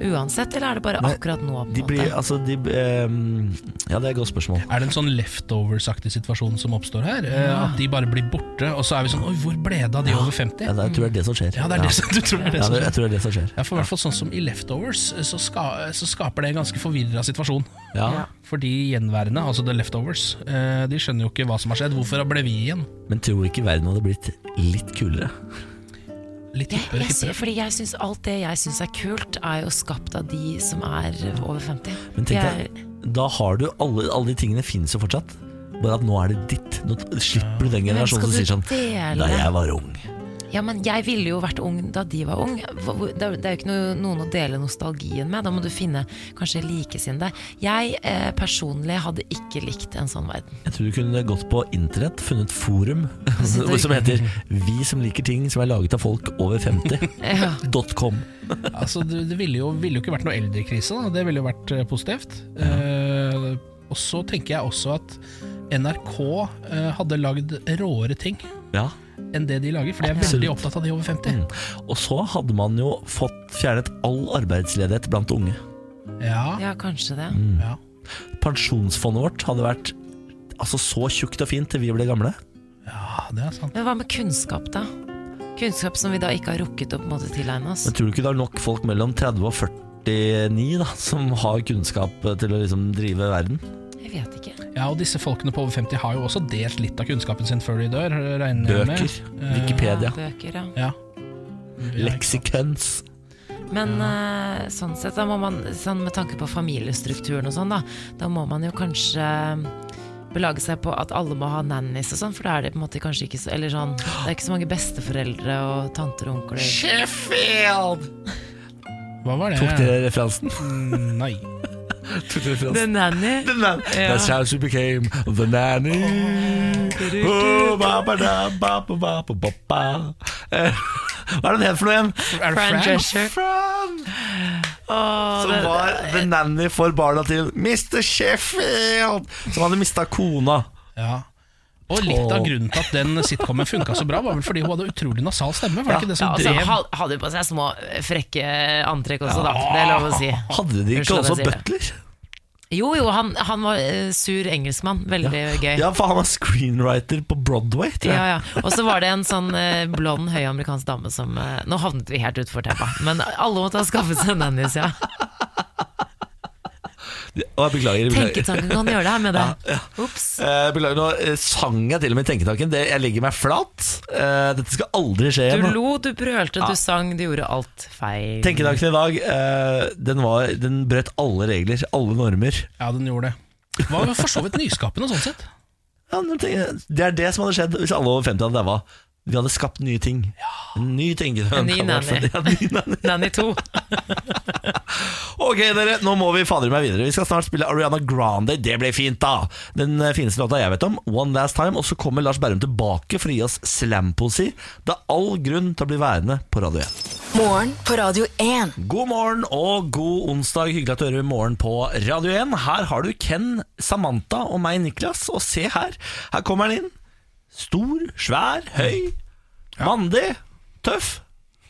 uansett, eller er det bare Nei, akkurat nå? på De en blir, måte? altså, de, ehm, ja, det er et godt spørsmål. Er det en sånn leftovers-aktig situasjon som oppstår her? Eh, At de bare blir borte, og så er vi sånn Oi, hvor ble det av de over 50? Ja, det, jeg tror det er det som skjer. Ja, det er det som du tror er det Ja, som det, skjer. jeg tror det er det som skjer. Ja, for i hvert fall sånn som i Leftovers, så, ska, eh, så skaper det en ganske forvirra situasjon. Ja. For de gjenværende, altså the leftovers, eh, de skjønner jo ikke hva som har skjedd. Hvorfor ble vi igjen? Men tror ikke verden hadde blitt litt kulere? Litt Jeg, hippere, jeg sy- hippere. fordi jeg synes alt det jeg syns er kult, er jo skapt av de som er over 50. Men De tenk er, deg, da har du alle, alle de tingene finnes jo fortsatt. Bare at nå er det ditt. Nå t- slipper du den Men generasjonen som skal sier du sånn Da dele? jeg var ung. ja, men jeg ville jo vært ung da de var ung. Hva- hvor- Det er det er jo ikke noe, noen å dele nostalgien med. Da må du finne kanskje likesinnede. Jeg eh, personlig hadde ikke likt en sånn verden. Jeg tror du kunne gått på internett, funnet forum [LAUGHS] sitter- [LAUGHS] [LAUGHS] som heter 'Vi som liker ting som er laget av folk [LAUGHS] over 50'. Ja. Dot .com. Altså, det det ville jo, ville jo ikke vært noe eldrekrise, da. Det ville jo vært eh, positivt. Eh, og så tenker jeg også at NRK eh, hadde lagd råere ting Ja. enn det de lager, for de er Absolutt. veldig opptatt av de over 50. Mm. Og så hadde man jo fått fjernet all arbeidsledighet blant unge. Ja, ja, kanskje det. Mm. ja. Pensjonsfondet vårt hadde vært altså, så tjukt og fint til vi ble gamle. ja, Ah, det er sant. Men hva med kunnskap, da? Kunnskap som vi da ikke har rukket å på en måte tilegne oss. Men tror du ikke det er nok folk mellom 30 og 49 da, som har kunnskap til å liksom drive verden? Jeg vet ikke. Ja, og disse folkene på over 50 har jo også delt litt av kunnskapen sin før de dør, regner jeg med. Bøker, Wikipedia, Bøker, eh, ja. Ja. leksikons. Men eh, sånn sett, da må man, sånn med tanke på familiestrukturen og sånn, da, da må man jo kanskje eh, belage seg på at alle må ha nannies og sånn, for da er det på en måte kanskje ikke så Eller sånn, det er ikke så mange besteforeldre og tanter og onkler. Hva var det? Tok dere [LAUGHS] referansen? Mm, [LAUGHS] Nei. Tok dere referansen? The nanny! That's how she became the nanny. Oh, ba, ba, da, ba, ba, ba, ba, ba, ba. Eh, Hva er det den het for noe igjen? Er det Fran Fran? Drescher. Fran! Som var the nanny for barna til Mr. Sheffield, som hadde mista kona. Ja. Og litt av Åh. grunnen til at den sitcomen funka så bra, var vel fordi hun hadde utrolig nasal stemme. Var det ikke det Ja, som altså, drev ha- hadde jo på seg små eh, frekke antrekk også, da. Det er lov å si. Ah, Hadde de ikke Unnskyld at jeg også sier det. butler? Jo, jo, han, han var eh, sur engelskmann. Veldig gøy. Ja, for han var screenwriter på Broadway, [LAUGHS] tror Ja, jeg. ja. Og så var det en sånn eh, blond, høy amerikansk dame som eh, Nå havnet vi helt utfor teppa, men alle måtte ha skaffet seg nannies, [LAUGHS] ja. Å, jeg beklager. beklager. Tenketanken kan gjøre det her med det. Ops. Eh, beklager, nå eh, sang jeg til og med Tenketanken. Det, jeg legger meg flat. Eh, dette skal aldri skje Du igjen. lo, du brølte, du sang, du gjorde alt feil. Tenketanken i dag, eh, den, var, den brøt alle regler, alle normer. Ja, den gjorde det. Var jo for så vidt nyskapende, sånn sett. Ja, men tenk- det er det som hadde skjedd hvis alle over 50 hadde daua. Vi hadde skapt nye ting. En ny tenketank. En ny hadde nanny. vært for- [LAUGHS] Ja, ny nanny. Nanny 2. Ok, dere, nå må vi fader meg videre. Vi skal snart spille Ariana Grande. Det ble fint, da! Den eh, fineste låta jeg vet om, One Last Time. Og så kommer Lars Berrum tilbake for å gi oss slampoesi. Det er all grunn til å bli værende på Radio 1. Morgen på Radio 1. God morgen og god onsdag. Hyggelig at du hører Morgen på Radio 1. Her har du Ken, Samantha og meg, Niklas. Og se her, her kommer han inn. Stor, svær, høy, mandig, tøff.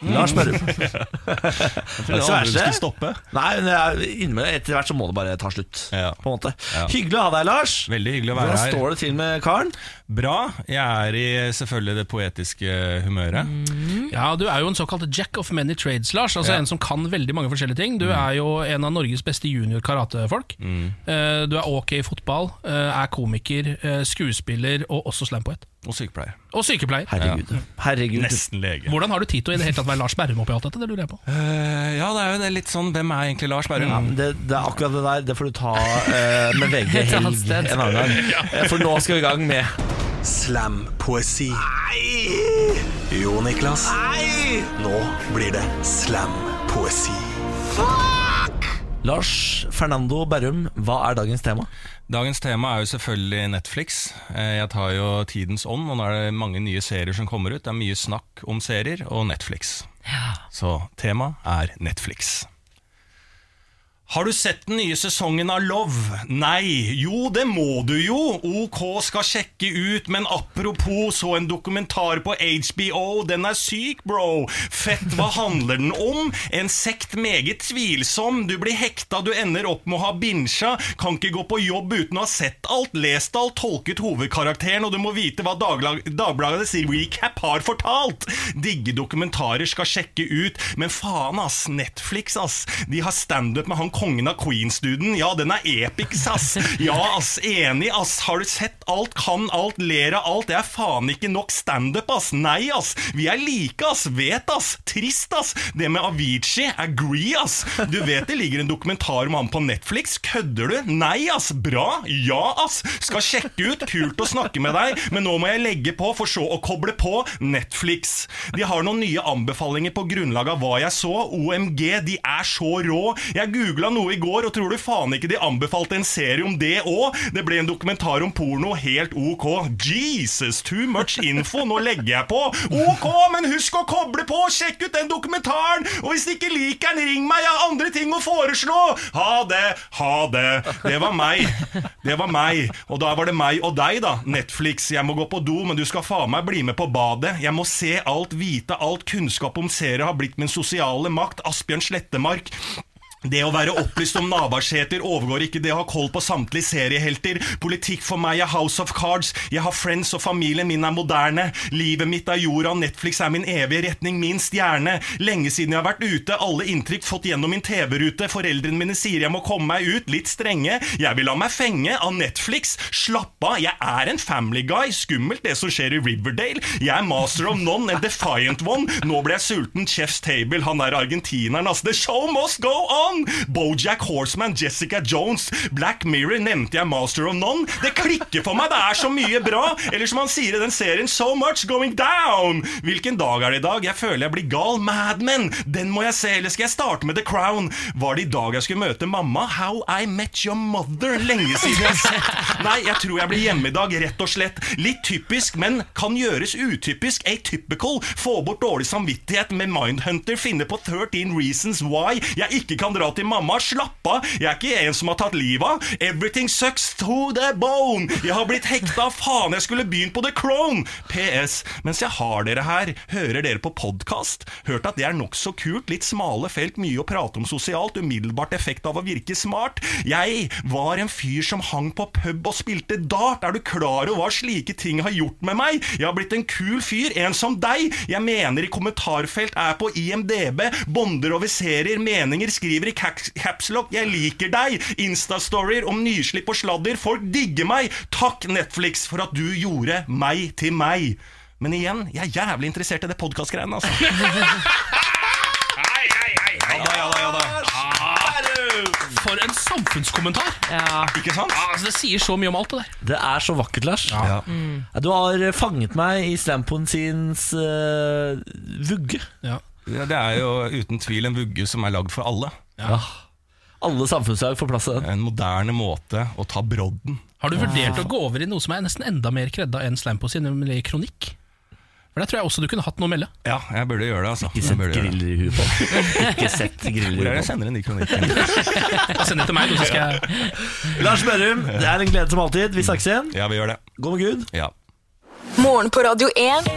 Lars Berrum. Det er så verst, det. skulle stoppe. Nei, men jeg er inne med det. etter hvert så må det bare ta slutt. Ja. På en måte. Ja. Hyggelig å ha deg, Lars. Veldig hyggelig å være Hvordan her. står det til med karen? Bra. Jeg er i selvfølgelig det poetiske humøret. Ja, Du er jo en såkalt jack of many trades, Lars. Altså Ja. En som kan veldig mange forskjellige ting. Du er jo en av Norges beste junior karatefolk. Eh, Du er ok i fotball, eh, er komiker, eh, skuespiller og også slampoet. Og sykepleier. Og sykepleier. Herregud. Herregud. Nesten lege. Hvordan har du tid til å i det hele tatt være Lars Berrum oppi alt dette? Det lurer jeg på. Eh, ja, det er jo det litt sånn Hvem er egentlig Lars Berrum? Ja, men det, det er akkurat det der. Det får du ta eh, med VG [LAUGHS] Et annet helg sted. en annen gang. [LAUGHS] Eh, For nå skal vi i gang med Slampoesi. Jo, Niklas. Nå blir det slampoesi. Lars Fernando Berrum. Hva er dagens tema? Dagens tema er jo selvfølgelig Netflix. Eh, Jeg tar jo tidens ånd, og nå er det mange nye serier som kommer ut. Det er mye snakk om serier og Netflix. Så temaet er Netflix. Har du sett den nye sesongen av Love? Nei. Jo, det må du jo. OK skal sjekke ut, men apropos, så en dokumentar på HBO. Den er syk, bro. Fett, hva handler den om? En sekt meget tvilsom. Du blir hekta, du ender opp med å ha binsja. Kan ikke gå på jobb uten å ha sett alt, lest alt, tolket hovedkarakteren, og du må vite hva Dagla- Dagbladets recap har fortalt. Digge dokumentarer skal sjekke ut, men faen, ass. Netflix, ass. De har standup med han kongen av Queens-duden. Ja, den er epics, ass. Ja, ass. Enig, ass. Har du sett alt, kan alt, ler av alt. Det er faen ikke nok standup, ass. Nei, ass. Vi er like, ass. Vet, ass. Trist, ass. Det med Avicii agree, ass. Du vet det ligger en dokumentar om han på Netflix. Kødder du? Nei, ass. Bra. Ja, ass. Skal sjekke ut. Kult å snakke med deg, men nå må jeg legge på for så å koble på Netflix. De har noen nye anbefalinger på grunnlag av hva jeg så. OMG, de er så rå. Jeg googla noe i går, og tror du faen ikke de anbefalte en serie om det òg? Det ble en dokumentar om porno, helt ok. Jesus, too much info, nå legger jeg på. Ok, men husk å koble på! Sjekk ut den dokumentaren! Og hvis du ikke liker den, ring meg, jeg har andre ting å foreslå! Ha det, ha det. Det var meg. Det var meg, og da var det meg og deg, da. Netflix, jeg må gå på do, men du skal faen meg bli med på badet. Jeg må se alt, vite alt. Kunnskap om serier har blitt min sosiale makt. Asbjørn Slettemark. Det å være opplyst om Navarsete overgår ikke det å ha koll på samtlige seriehelter. Politikk for meg er House of Cards. Jeg har friends, og familien min er moderne. Livet mitt er jorda, Netflix er min evige retning, min stjerne. Lenge siden jeg har vært ute, alle inntrykk fått gjennom min TV-rute. Foreldrene mine sier jeg må komme meg ut, litt strenge. Jeg vil la meg fenge av Netflix. Slapp av, jeg er en family guy. Skummelt det som skjer i Riverdale. Jeg er master of none, en defiant one. Nå ble jeg sulten. Chef's table, han er argentineren, ass. The show must go on! Bojack Horseman, Jessica Jones, Black Mirror, nevnte jeg master of none. Det klikker for meg, det er så mye bra! Eller som han sier i den serien, so much going down! Hvilken dag er det i dag? Jeg føler jeg blir gal. Mad Men! Den må jeg se, eller skal jeg starte med The Crown? Var det i dag jeg skulle møte mamma? How I Met Your Mother? Lenge siden jeg har sett. Nei, jeg tror jeg blir hjemme i dag, rett og slett. Litt typisk, men kan gjøres utypisk. Atypical. Få bort dårlig samvittighet med Mindhunter. Finne på 13 reasons why jeg ikke kan dra til mamma. Slapp av, jeg er ikke en som har tatt livet av. Everything sucks to the bone. Jeg har blitt hekta. Faen, jeg skulle begynt på The Crown. PS. Mens jeg har dere her, hører dere på podkast? Hørt at det er nokså kult. Litt smale felt, mye å prate om sosialt. Umiddelbart effekt av å virke smart. Jeg var en fyr som hang på pub og spilte dart. Er du klar over hva slike ting har gjort med meg? Jeg har blitt en kul fyr, en som deg. Jeg mener i kommentarfelt, er på IMDb, bonder over serier, meninger, skriver i caps- capslock 'Jeg liker deg', Insta-storyer om nyslipp og sladder. Folk digger meg. Takk, Netflix, for at du gjorde meg til meg. Men igjen, jeg er jævlig interessert i det podkastgreiene, altså. Ja da, ja da, ja da. For en samfunnskommentar! Ikke sant? Ja, altså, det sier så mye om alt det der. Det er så vakkert, Lars. Ja. Du har fanget meg i Slampoen sins eh, vugge. Ja, det er jo uten tvil en vugge som er lagd for alle. Ja. Alle samfunnslag får plass til den. En moderne måte å ta brodden. Har du vurdert å gå over i noe som er nesten enda mer kredda enn Slampo sin, nemlig kronikk? For Der tror jeg også du kunne hatt noe å melde. Ja, jeg burde gjøre det, altså. Ikke Jeg sett burde gjøre det. griller i huet [LAUGHS] på den. Ikke sett Hvor griller er i huet det jeg på den. sender en ny kronikk? [LAUGHS] Da Send det til meg, du, så skal jeg Lars Berrum, det er en glede som alltid. Vi snakkes igjen. Ja, vi gjør det. Gå med Gud. Ja. Morgen på Radio 1.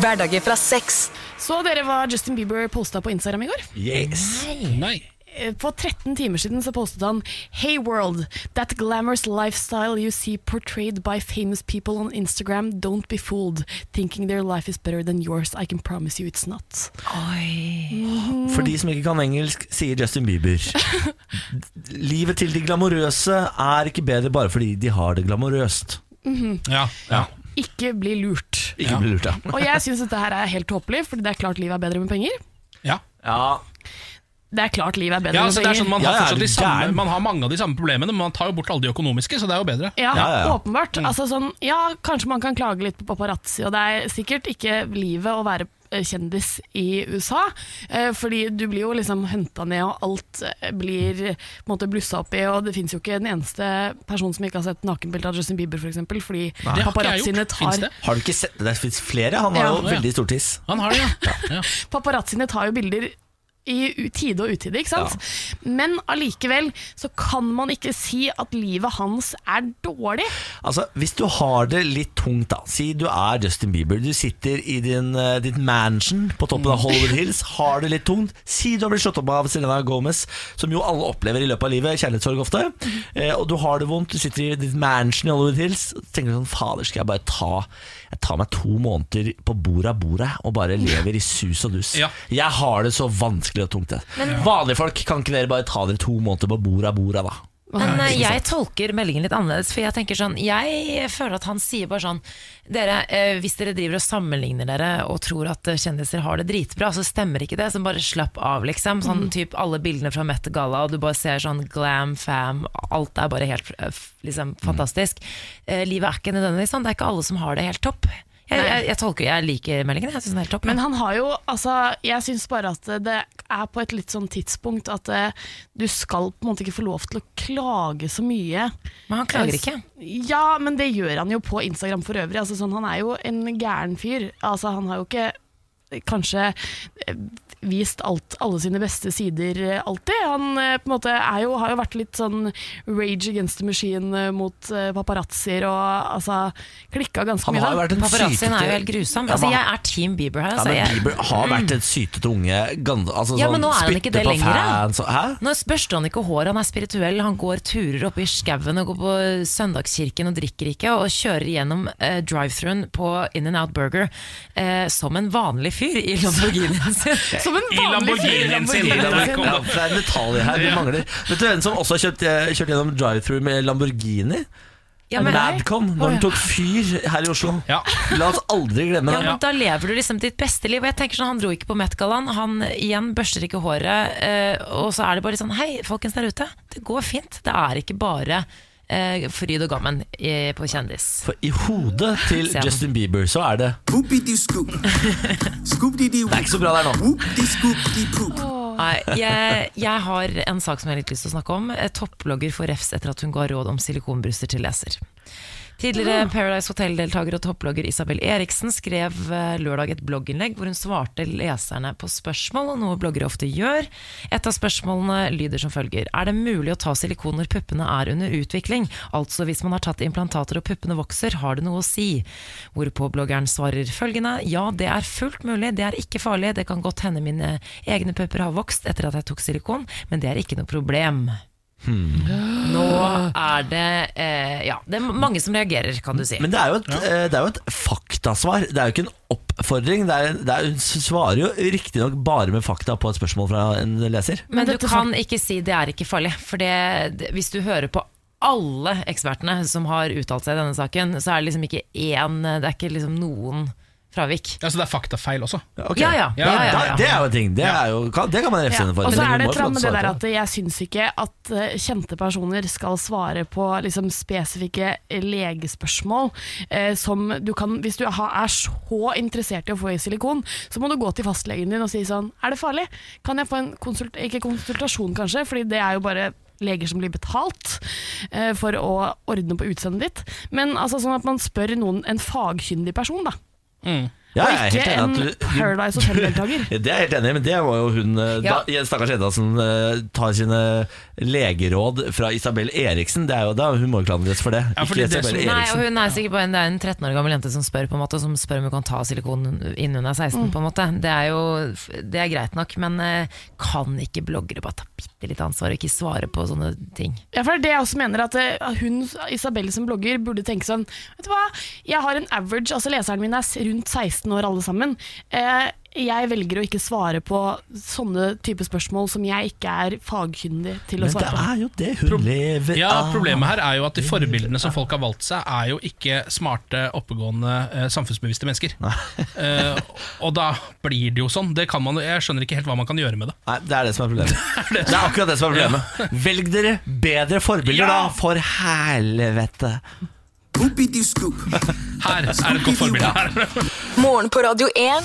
Hverdager fra seks. Så dere hva Justin Bieber posta på Instagram i går? Yes. Nei. Eh, På 13 timer siden så postet han Hey world, that glamorous lifestyle you see portrayed by famous people on Instagram Don't be fooled, thinking their life is better than yours I can promise you it's not Oi. For de som ikke kan engelsk, sier Justin Bieber. Livet til de glamorøse er ikke bedre bare fordi de har det glamorøst. Ja, ja. Ikke bli lurt Ikke bli lurt, ja. Og jeg synes dette her er helt tåpelig Fordi det er klart livet er bedre med penger ja. ja. Det er klart livet er bedre ja med altså, det er penger sånn Man Ja, har ja, fortsatt er de du samme gæren? Man har mange av de samme problemene, men man tar jo bort alle de økonomiske, så det er jo bedre. ja, Ja, ja, ja. åpenbart Mm. altså, sånn, ja, kanskje man kan klage litt på paparazzi Og det er sikkert ikke livet å være eh, kjendis i USA eh, Fordi du blir jo liksom hentet ned Og alt eh, blir på en måte blussa opp i Og det finnes jo ikke en eneste person som ikke har sett nakenbilder av Justin Bieber for eksempel Fordi Det har ikke jeg paparazziene gjort. Fins tar, det? Har du ikke sett Det fins flere. Han har Ja. jo veldig stor tiss. Han har det, ja. ja. paparazziene tar jo bilder i u- tide og utide, ikke sant? Men allikevel så kan man ikke si at livet hans er dårlig. Altså, Hvis du har det litt tungt, da si du er Justin Bieber. Du sitter i din, eh, ditt mansion på toppen av Hollywood Hills, har det litt tungt. Si du har blitt slått opp av Selena Gomez, som jo alle opplever i løpet av livet, kjærlighetssorg ofte. Eh, og du har det vondt, du sitter i ditt mansion i Hollywood Hills. og tenker du sånn, fader, skal jeg bare ta Jeg tar meg to måneder på bordet av bordet og bare lever i sus og dus. Ja. Jeg har det så vanskelig og tungt. jeg. Vanlige folk, kan ikke dere bare ta dere to måneder på bordet av bordet, da? Men eh, jeg tolker meldingen litt annerledes, for jeg tenker sånn Jeg føler at han sier bare sånn Dere, eh, hvis dere driver og sammenligner dere og tror at eh, kjendiser har det dritbra, så stemmer ikke det. Så bare slapp av, liksom. Sånn Mhm. typ alle bildene fra Met Gala, og du bare ser sånn glam, fam, alt er bare helt eh, f- liksom Mhm. fantastisk. Eh, livet er ikke nødvendigvis sånn. Det er ikke alle som har det helt topp. Jeg, jeg, jeg tolker, jeg liker meldingen, jeg syns den er helt topp. Men han har jo, altså, jeg syns bare at det er på et litt sånn tidspunkt at eh, du skal på en måte ikke få lov til å klage så mye. Men han klager ikke. Ja, men det gjør han jo på Instagram for øvrig. Altså, sånn, han er jo en gæren fyr. Altså, han har jo ikke eh, kanskje eh, vist alt, alle sine beste sider eh, alltid. Han eh, på en måte er jo, har jo vært litt sånn rage against the machine eh, mot eh, paparazzier og altså klikka ganske Han mye. har jo da. vært en Paparazzien er sykete- jo helt grusom. Ja, men Altså, han- jeg er Team Bieber her. Ja, Altså, men jeg, Bieber har vært en sytete unge. gan- Altså, Ja, sånn, men nå er han ikke spytte det på lenger, da. Fans, og, hæ? Nå børster han ikke hår, han er spirituell. Han går turer oppe i skauen og går på søndagskirken og drikker ikke, og kjører gjennom eh, drive-thruen på In and Out Burger eh, som en vanlig fyr i Lamborghinien sin. Som en I vanlig fyr. Lamborghinien sin. Lamborghini. Der kom Ja, den. det er en detalj her vi Ja. mangler. Vet du hvem som også har kjørt, eh, kjørt gjennom drive-through med Lamborghini? Ja, men, ja, Madcon, når den tok fyr her i Oslo. Ja. La oss aldri glemme det. men Da lever du liksom ditt beste liv. Og jeg tenker sånn, Han dro ikke på Met-gallaen, han igjen børster ikke håret. Eh, og så er det bare sånn Hei, folkens der ute, det går fint. Det er ikke bare eh, fryd og gammen i, på kjendis. For i hodet til Se han. Justin Bieber så er det Det er ikke så bra der nå. Nei, jeg, jeg har en sak som jeg har litt lyst til å snakke om. Eh, Topplogger får refs etter at hun ga råd om silikonbryster til leser. Tidligere Paradise Hotel-deltaker og topplogger Isabel Eriksen skrev eh, lørdag et blogginnlegg hvor hun svarte leserne på spørsmål, og noe bloggere ofte gjør. Et av spørsmålene lyder som følger Er det mulig å ta silikon når puppene er under utvikling? Altså hvis man har tatt implantater og puppene vokser, har det noe å si? Hvorpå bloggeren svarer følgende Ja, det er fullt mulig, det er ikke farlig, det kan godt hende mine egne pupper har vokst etter at jeg tok silikon, men det er ikke noe problem. Nå er det eh, Ja, det er mange som reagerer, kan du si. Men det er, jo et, eh, det er jo et faktasvar. Det er jo ikke en oppfordring. Det er, det er, hun svarer jo riktignok bare med fakta på et spørsmål fra en leser. Men du dette kan ikke si det er ikke farlig, for det, det, hvis du hører på alle ekspertene som har uttalt seg i denne saken, så er det liksom ikke én Det er ikke liksom noen fravik. Ja, så det er faktafeil også. Ok. Ja, ja. ja, ja, ja, Da- Det er jo en ting. Det, er jo, kan, det kan man refse Ja, henne for. Og så Men hun er det et må jo eller få lov annet med til å det der svare på at jeg syns ikke at eh, kjente personer skal svare på liksom spesifikke eh, legespørsmål. Eh, som du kan, hvis du ha- er så interessert i å få i silikon, så må du gå til fastlegen din og si sånn Er det farlig? Kan jeg få en konsult... Ikke konsultasjon, kanskje, fordi det er jo bare leger som blir betalt eh, for å ordne på utseendet ditt. Men altså sånn at man spør noen, en fagkyndig person, da. Ja, jeg er og helt ikke enig en at du, du Paradise [LAUGHS] Hotel-deltaker. Ja, det er jeg helt enig i, men det var jo hun eh, Ja. da, Stakkars Edda som eh, tar sine legeråd fra Isabel Eriksen. Det er jo da Hun må jo klandres for det. Ja, fordi ikke det Isabel som- Nei, og Eriksen. hun er sikkert bare en, det er en 13 år gammel jente som spør på en måte Som spør om hun kan ta silikon innen hun er 16. på en måte Det er jo det er greit nok, men eh, kan ikke bloggere bare ta bitte litt ansvar og ikke svare på sånne ting? Ja, for det er det jeg også mener at eh, hun, Isabelle som blogger, burde tenke sånn Vet du hva, jeg har en average, altså leseren min er s- rundt 16 år alle sammen. Eh, jeg velger å ikke svare på sånne type spørsmål som jeg ikke er fagkyndig til å Men det svare på. er jo det hun lever Ja, Ah. av. Problemet her er jo at de forbildene som folk har valgt seg, er jo ikke smarte, oppegående, eh, samfunnsbevisste mennesker. [LAUGHS] Eh, og da blir det jo sånn. Det kan man, jeg skjønner ikke helt hva man kan gjøre med det. Nei, det er det [LAUGHS] som er problemet. det, er akkurat det som er problemet. Velg dere bedre Ja. forbilder, da, for helvete. Her er et godt forbilde. Her. Morgen på Radio 1.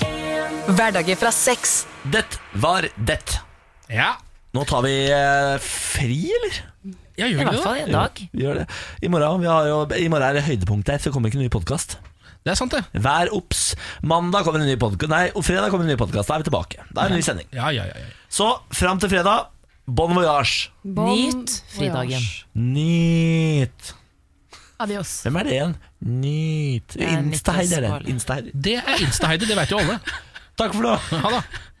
Hverdager fra seks. Det var det. Ja, Nå tar vi eh, fri, eller? jeg I gjør hvert det. fall i en dag. Vi gjør det. I morgen, vi har jo, I morgen er det høydepunktet her, så det kommer ikke noe ny podkast. Det er sant, det. Vær obs. Mandag kommer en ny podkast. Nei, og fredag kommer en ny podkast. Da er vi tilbake. Da er det en ny sending. Ja, ja, ja, ja. Så fram til fredag, bon voyage. Bon Nyt fridagen. voyage. Nyt. Adios. Hvem er det igjen? Nyt. er Niklas Instaheid er det. Baarli. Instaheid. Det er Insta-Heidi, det vet jo alle. Takk for nå. Ha det.